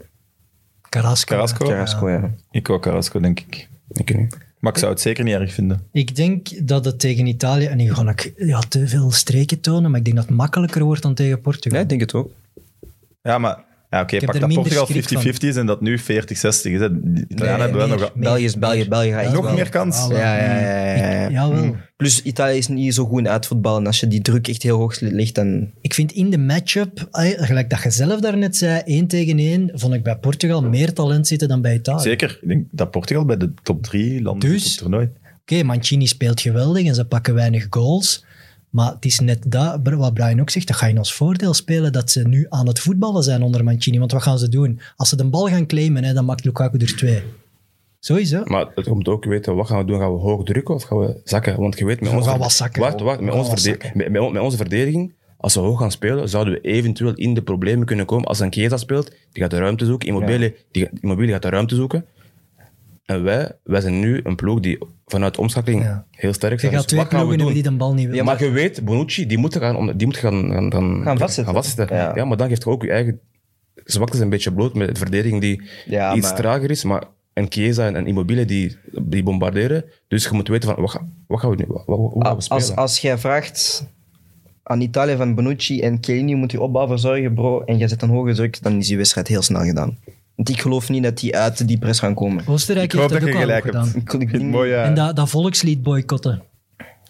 Carrasco.
Carrasco?
Carrasco, ja.
Ik ook Carrasco, denk ik.
Ik niet.
Maar ik zou het zeker niet erg vinden.
Ik denk dat het tegen Italië, en nu ga ik ja, te veel streken tonen, maar ik denk dat het makkelijker wordt dan tegen Portugal.
Nee, ik denk het ook.
Ja, maar... Ja, oké,
heb
pak
er
dat
minder
Portugal 50-50
schrik van.
is en dat nu 40-60 is. hè. Die Italianen hebben wel
meer,
nog...
meer,
België is België,
meer.
België gaat echt
Nog
wel-
meer kans?
Ah, wel.
Ja, ja, ja. ja, ja.
Ik, jawel.
Mm.
Plus, Italië is niet zo goed in uitvoetballen. Als je die druk echt heel hoog legt, dan...
Ik vind in de matchup, eh, gelijk dat je zelf daarnet zei, één tegen één, vond ik bij Portugal meer talent zitten dan bij Italië.
Zeker. Ik denk dat Portugal bij de top 3 landen
Dus-
op het toernooi.
Oké, Mancini speelt geweldig en ze pakken weinig goals. Maar het is net dat, wat Brian ook zegt, dat ga je in ons voordeel spelen dat ze nu aan het voetballen zijn onder Mancini. Want wat gaan ze doen? Als ze de bal gaan claimen, hè, dan maakt Lukaku er twee. Sowieso.
Maar het komt ook weten, wat gaan we doen? Gaan we hoog drukken of gaan we zakken? Want je weet, met,
We
onze
gaan
verde-
wat zakken.
Wacht, wacht,
We
met,
gaan
onze
wat
verde-
zakken.
met, met- met onze verdediging, als we hoog gaan spelen, zouden we eventueel in de problemen kunnen komen. Als een Chiesa speelt, die gaat de ruimte zoeken. Immobile, die, gaat- Immobile gaat de ruimte zoeken. En wij, wij zijn nu een ploeg die vanuit omschakeling
Ja.
heel sterk
Je
zijn.
gaat
Dus
twee
wat gaan we
ploegen
doen?
hebben die de bal niet willen.
maar, je weet, Bonucci, die moet gaan, om- die moet gaan, gaan, gaan,
Gaan vastzitten.
Ja.
Ja.
maar dan geeft je ook je eigen zwaktes een beetje bloot met de verdediging die
Ja,
iets
maar-
trager is. Maar en Chiesa en, en Immobile die, die bombarderen. Dus je moet weten van, wat, ga- wat gaan we nu, wat, wat- hoe gaan we spelen?
Ah, Als, als jij vraagt aan Italië van Bonucci en Chiellini moet je opbouw verzorgen, bro, en jij zet een hoge druk, dan is die wedstrijd heel snel gedaan. Want ik geloof niet dat die uit die press gaan komen.
Oostenrijk
Ik hoop
heeft dat,
dat je
ook al
gelijk hebt.
gedaan.
Ik
Ik- ik-
vind het mooi, eh, ja.
En dat, dat volkslied boycotten.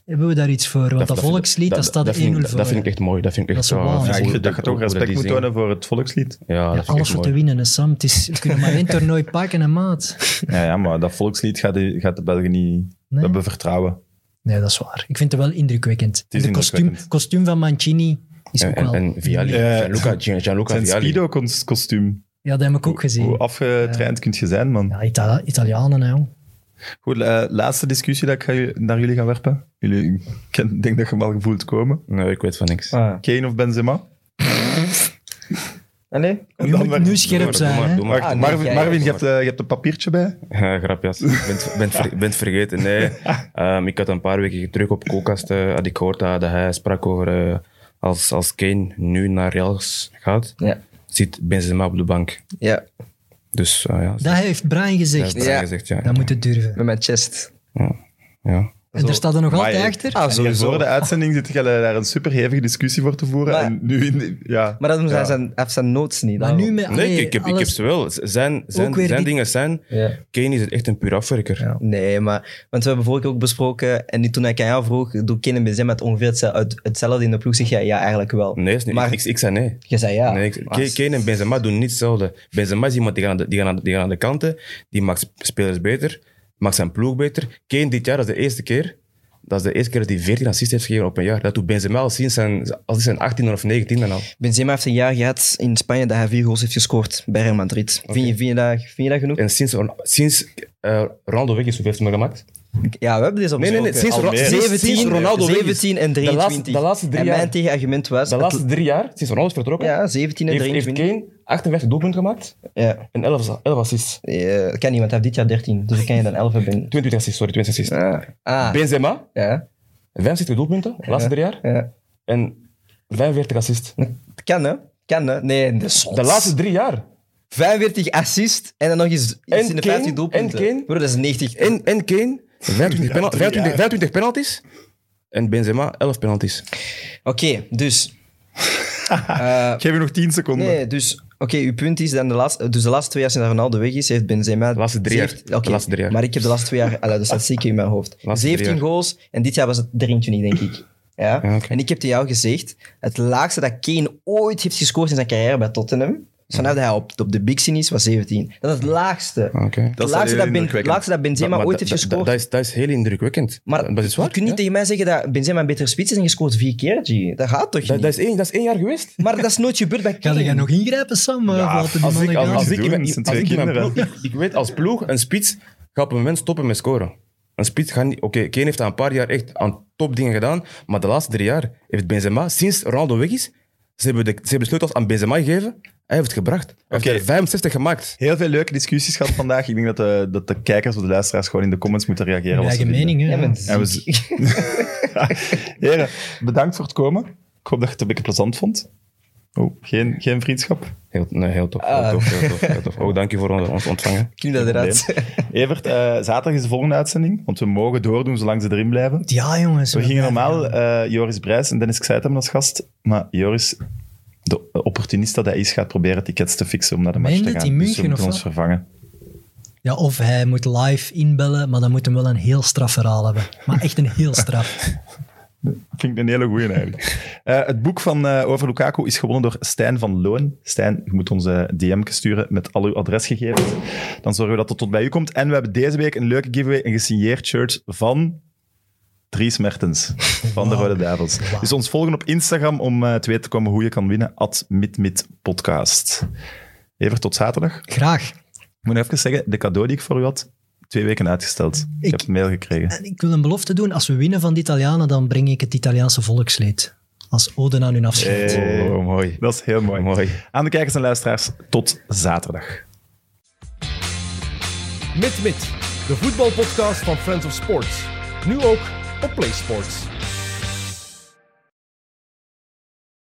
Hebben we daar iets voor? Want dat, volkslied, dat, staat 1-0
vind ik-
voor.
Dat vind ik echt mooi. Dat vind ik
Dat
echt
is wel
zo-
Ja,
Ja,
ik
hoe-
vind dat je
hoe-
toch
hoe
respect
die
moet
zingen.
tonen voor het volkslied.
Ja, dat
Ja,
vind ik
alles
echt
voor
mooi.
te winnen, hè, Sam. Het is, we kunnen maar één toernooi pakken, hè, maat.
Ja, ja, maar dat volkslied gaat de, gaat de Belgen niet...
Nee.
Dat hebben we vertrouwen.
Nee, dat is waar. Ik vind het wel indrukwekkend.
is
de kostuum,
indrukwekkend.
kostuum van Mancini is ook
En,
wel...
en Vialli,
Ja.
Gianluca, Gian- Gianluca
Zijn
Vialli.
Speedo-kostuum.
ja, dat heb ik ook gezien.
Hoe afgetraind kun je zijn, man.
Ja, Itali- Italianen, hè, jong.
Goed, eh, laatste discussie dat ik ga- naar jullie ga werpen. Jullie, ik ken- denk dat je hem al gevoeld komen.
Nee, ik weet van niks.
Ah.
Kane of Benzema?
Allee?
Je moet
maar-
nu
Doe
scherp
maar,
zijn,
doe maar,
hè.
doe maar.
Wacht,
Ah, nee,
Marvin,
jij-
Marvin je, hebt, eh, je hebt een papiertje bij.
Ja, grapjas. Bent, bent, ver- bent vergeten. Nee, Ehm, ik had een paar weken terug op Koelkast eh, had ik gehoord dat, dat hij sprak over eh, als, als Kane nu naar Real gaat,
Ja.
zit Benzema op de bank.
Ja,
Dus eh, ja,
Dat heeft Brian
dat is
gezegd.
daar
Ja.
gezegd. Ja,
Dat moet het durven.
met mijn chest.
ja.
En daar staat er nog
Amai, ik-
altijd achter.
Ah,
En
sowieso.
Voor de uitzending zit je daar een superhevige discussie voor te voeren.
Maar-
en nu in- ja.
Maar dat doen
Ja.
zij zijn, heeft zijn notes niet. nou.
Maar
daarom.
nu met
Nee,
allee,
ik, ik, heb, ik heb
alles-
ze wel. Z- Zijn, zijn,
Ook weer
zijn
die-
dingen zijn.
Ja.
Kane is er echt een puur afwerker.
Nee, maar... Want we hebben vorige keer ook besproken... En die- toen ik aan jou vroeg, doe Ken en Benzema het ongeveer hetzelfde, uit- hetzelfde in de ploeg? Zeg jij, ja, eigenlijk wel.
Nee, is niet,
Maar-
ik, ik, ik zei nee.
Je zei ja.
nee ik,
Maar-
Kane- Kane en Benzema doen niet hetzelfde. Benzema is iemand die gaat, aan de, die, gaat aan de, die gaat aan de kanten, die maakt sp- spelers beter, maakt zijn ploeg beter. Kane dit jaar, dat is de eerste keer, dat is de eerste keer dat hij 14 assists heeft gegeven op een jaar. Dat doet Benzema al sinds zijn, al sinds zijn 18 of 19 en al.
Benzema heeft een jaar gehad in Spanje dat hij vier goals heeft gescoord bij Real Madrid. Vind, je, vind, je dat, vind je dat genoeg?
En sinds, sinds eh, Ronaldo weg is, hoeveel heeft hij maar gemaakt?
Ja, we hebben deze op
Nee, nee, nee, sinds Ro- sinds- sinds
17,
Ronaldo weg is.
17 en
De laatste-
23.
de laatste drie
en
jaar.
mijn tegenargument was...
De
het-
laatste drie jaar, sinds Ronaldo is vertrokken,
Ja, 17 en
heeft, heeft
23.
Kane 58 doelpunten gemaakt
Ja.
en 11, ass- 11 assists.
Eh, dat kan niet, want hij heeft dit jaar 13. Dus dan kan je dan 11 hebben.
22 assists, sorry, 22 assists.
Ah, ah
Benzema,
ja.
65 doelpunten, de laatste drie jaar.
ja.
En 45 assists.
Kan hè? Kan hè? Nee, de zot.
De laatste drie jaar.
45 assist en dan nog eens iets
En
in de
Kane,
15 doelpunten.
en Kane.
Bro, dat is 90.
En, en Kane, 25, penal- 25 25 penalties. En Benzema, 11 penalties.
Oké, dus...
Geef je nog 10 seconden.
Nee, dus... Oké, uw punt is dan de laatste, dus de laatste twee jaar sinds Ronaldo weg is, heeft Benzema... De
laatste drie jaar. De laatste drie jaar.
Maar ik heb de laatste twee jaar... Allee, de statistieken in mijn hoofd.
laatste drie
17
jaar.
goals en dit jaar was het 23, denk ik. Ja?
Ja, oké.
En ik heb tegen jou gezegd, het laagste dat Kane ooit heeft gescoord in zijn carrière bij Tottenham, dus vanaf dat hij op, op de big scene is, was 17. Dat is het laagste.
Mhm. Oké.
Het
is
laagste
heel
dat, ben,
indrukwekkend.
laagste dat Benzema
maar
ooit
dat-
heeft
dat-
gescoord.
Dat is, dat is heel indrukwekkend.
maar
dat is waar.
je kunt niet
ja.
tegen mij zeggen dat Benzema een betere spits is en gescoord vier keer, G. Dat gaat toch niet?
dat, dat, is één, dat is één jaar geweest.
Maar dat is nooit gebeurd bij
Ga
Kane.
jij nog ingrijpen, Sam? eh,
Ja,
voor wat de
Als
mannen
ik, als,
gaan?
als
Ze
ik, in mijn-
doen, het zijn
als
twee
ik in mijn
kinderen.
ploeg, ik, ik weet als ploeg, een spits gaat op een moment stoppen met scoren. Een spits gaat niet... Oké, Kane heeft dat een paar jaar echt aan topdingen gedaan, maar de laatste drie jaar heeft Benzema, sinds Ronaldo weg is, ze hebben de, ze hebben de sleutels aan Benzema gegeven, hij heeft het gebracht. Hij heeft
Oké.
er 65 gemaakt.
Heel veel leuke discussies gehad vandaag. Ik denk dat de, dat de kijkers of de luisteraars gewoon in de comments moeten reageren.
Mijn
wat ze
eigen
vinden.
mening, hè.
Ja, maar
En we z- Heren, bedankt voor het komen. Ik hoop dat je het een beetje plezant vond. Oh, geen, geen vriendschap.
Heel, nee, heel tof. Heel
Ah.
tof, heel tof, heel tof. Ook dank je voor ons- ons ontvangen.
Ik knip dat eruit.
Evert, eh, zaterdag is de volgende uitzending. Want we mogen doordoen zolang ze erin blijven.
Ja, jongens.
We
we
gingen
blijven-
normaal eh, Joris Brijs en Dennis Kseid hebben als gast. Maar Joris, de opportunist dat hij is, gaat proberen tickets te fixen om naar de match
Meen
te
dit
gaan.
in
Dus we
München
moeten
of
ons
wat?
vervangen.
Ja, of hij moet live inbellen, maar dan moet hem wel een heel straf verhaal hebben. Maar echt een heel straf.
Vind ik een hele goeie eigenlijk. Eh, het boek van, eh, over Lukaku is gewonnen door Stijn van Loon. Stijn, je moet ons eh, DM sturen met al uw adresgegevens. Dan zorgen we dat het tot bij u komt. En we hebben deze week een leuke giveaway, een gesigneerd shirt van Dries Mertens van de
Wauw.
Rode Duivels.
Wauw.
Dus ons volgen op Instagram om eh, te weten te komen hoe je kan winnen. At midmidpodcast. Even tot zaterdag. Ik
Graag.
moet nog even zeggen, de cadeau die ik voor u had, twee weken uitgesteld. Ik,
Ik-
heb een mail gekregen.
En ik wil een belofte doen. Als we winnen van de Italianen, dan breng ik het Italiaanse volkslied. Als ode aan hun afscheid.
Oh, mooi.
Dat is heel mooi.
Mooi.
Aan de kijkers en luisteraars, tot zaterdag.
Mit Mit, de voetbalpodcast van Friends of Sports. Nu ook op PlaySports.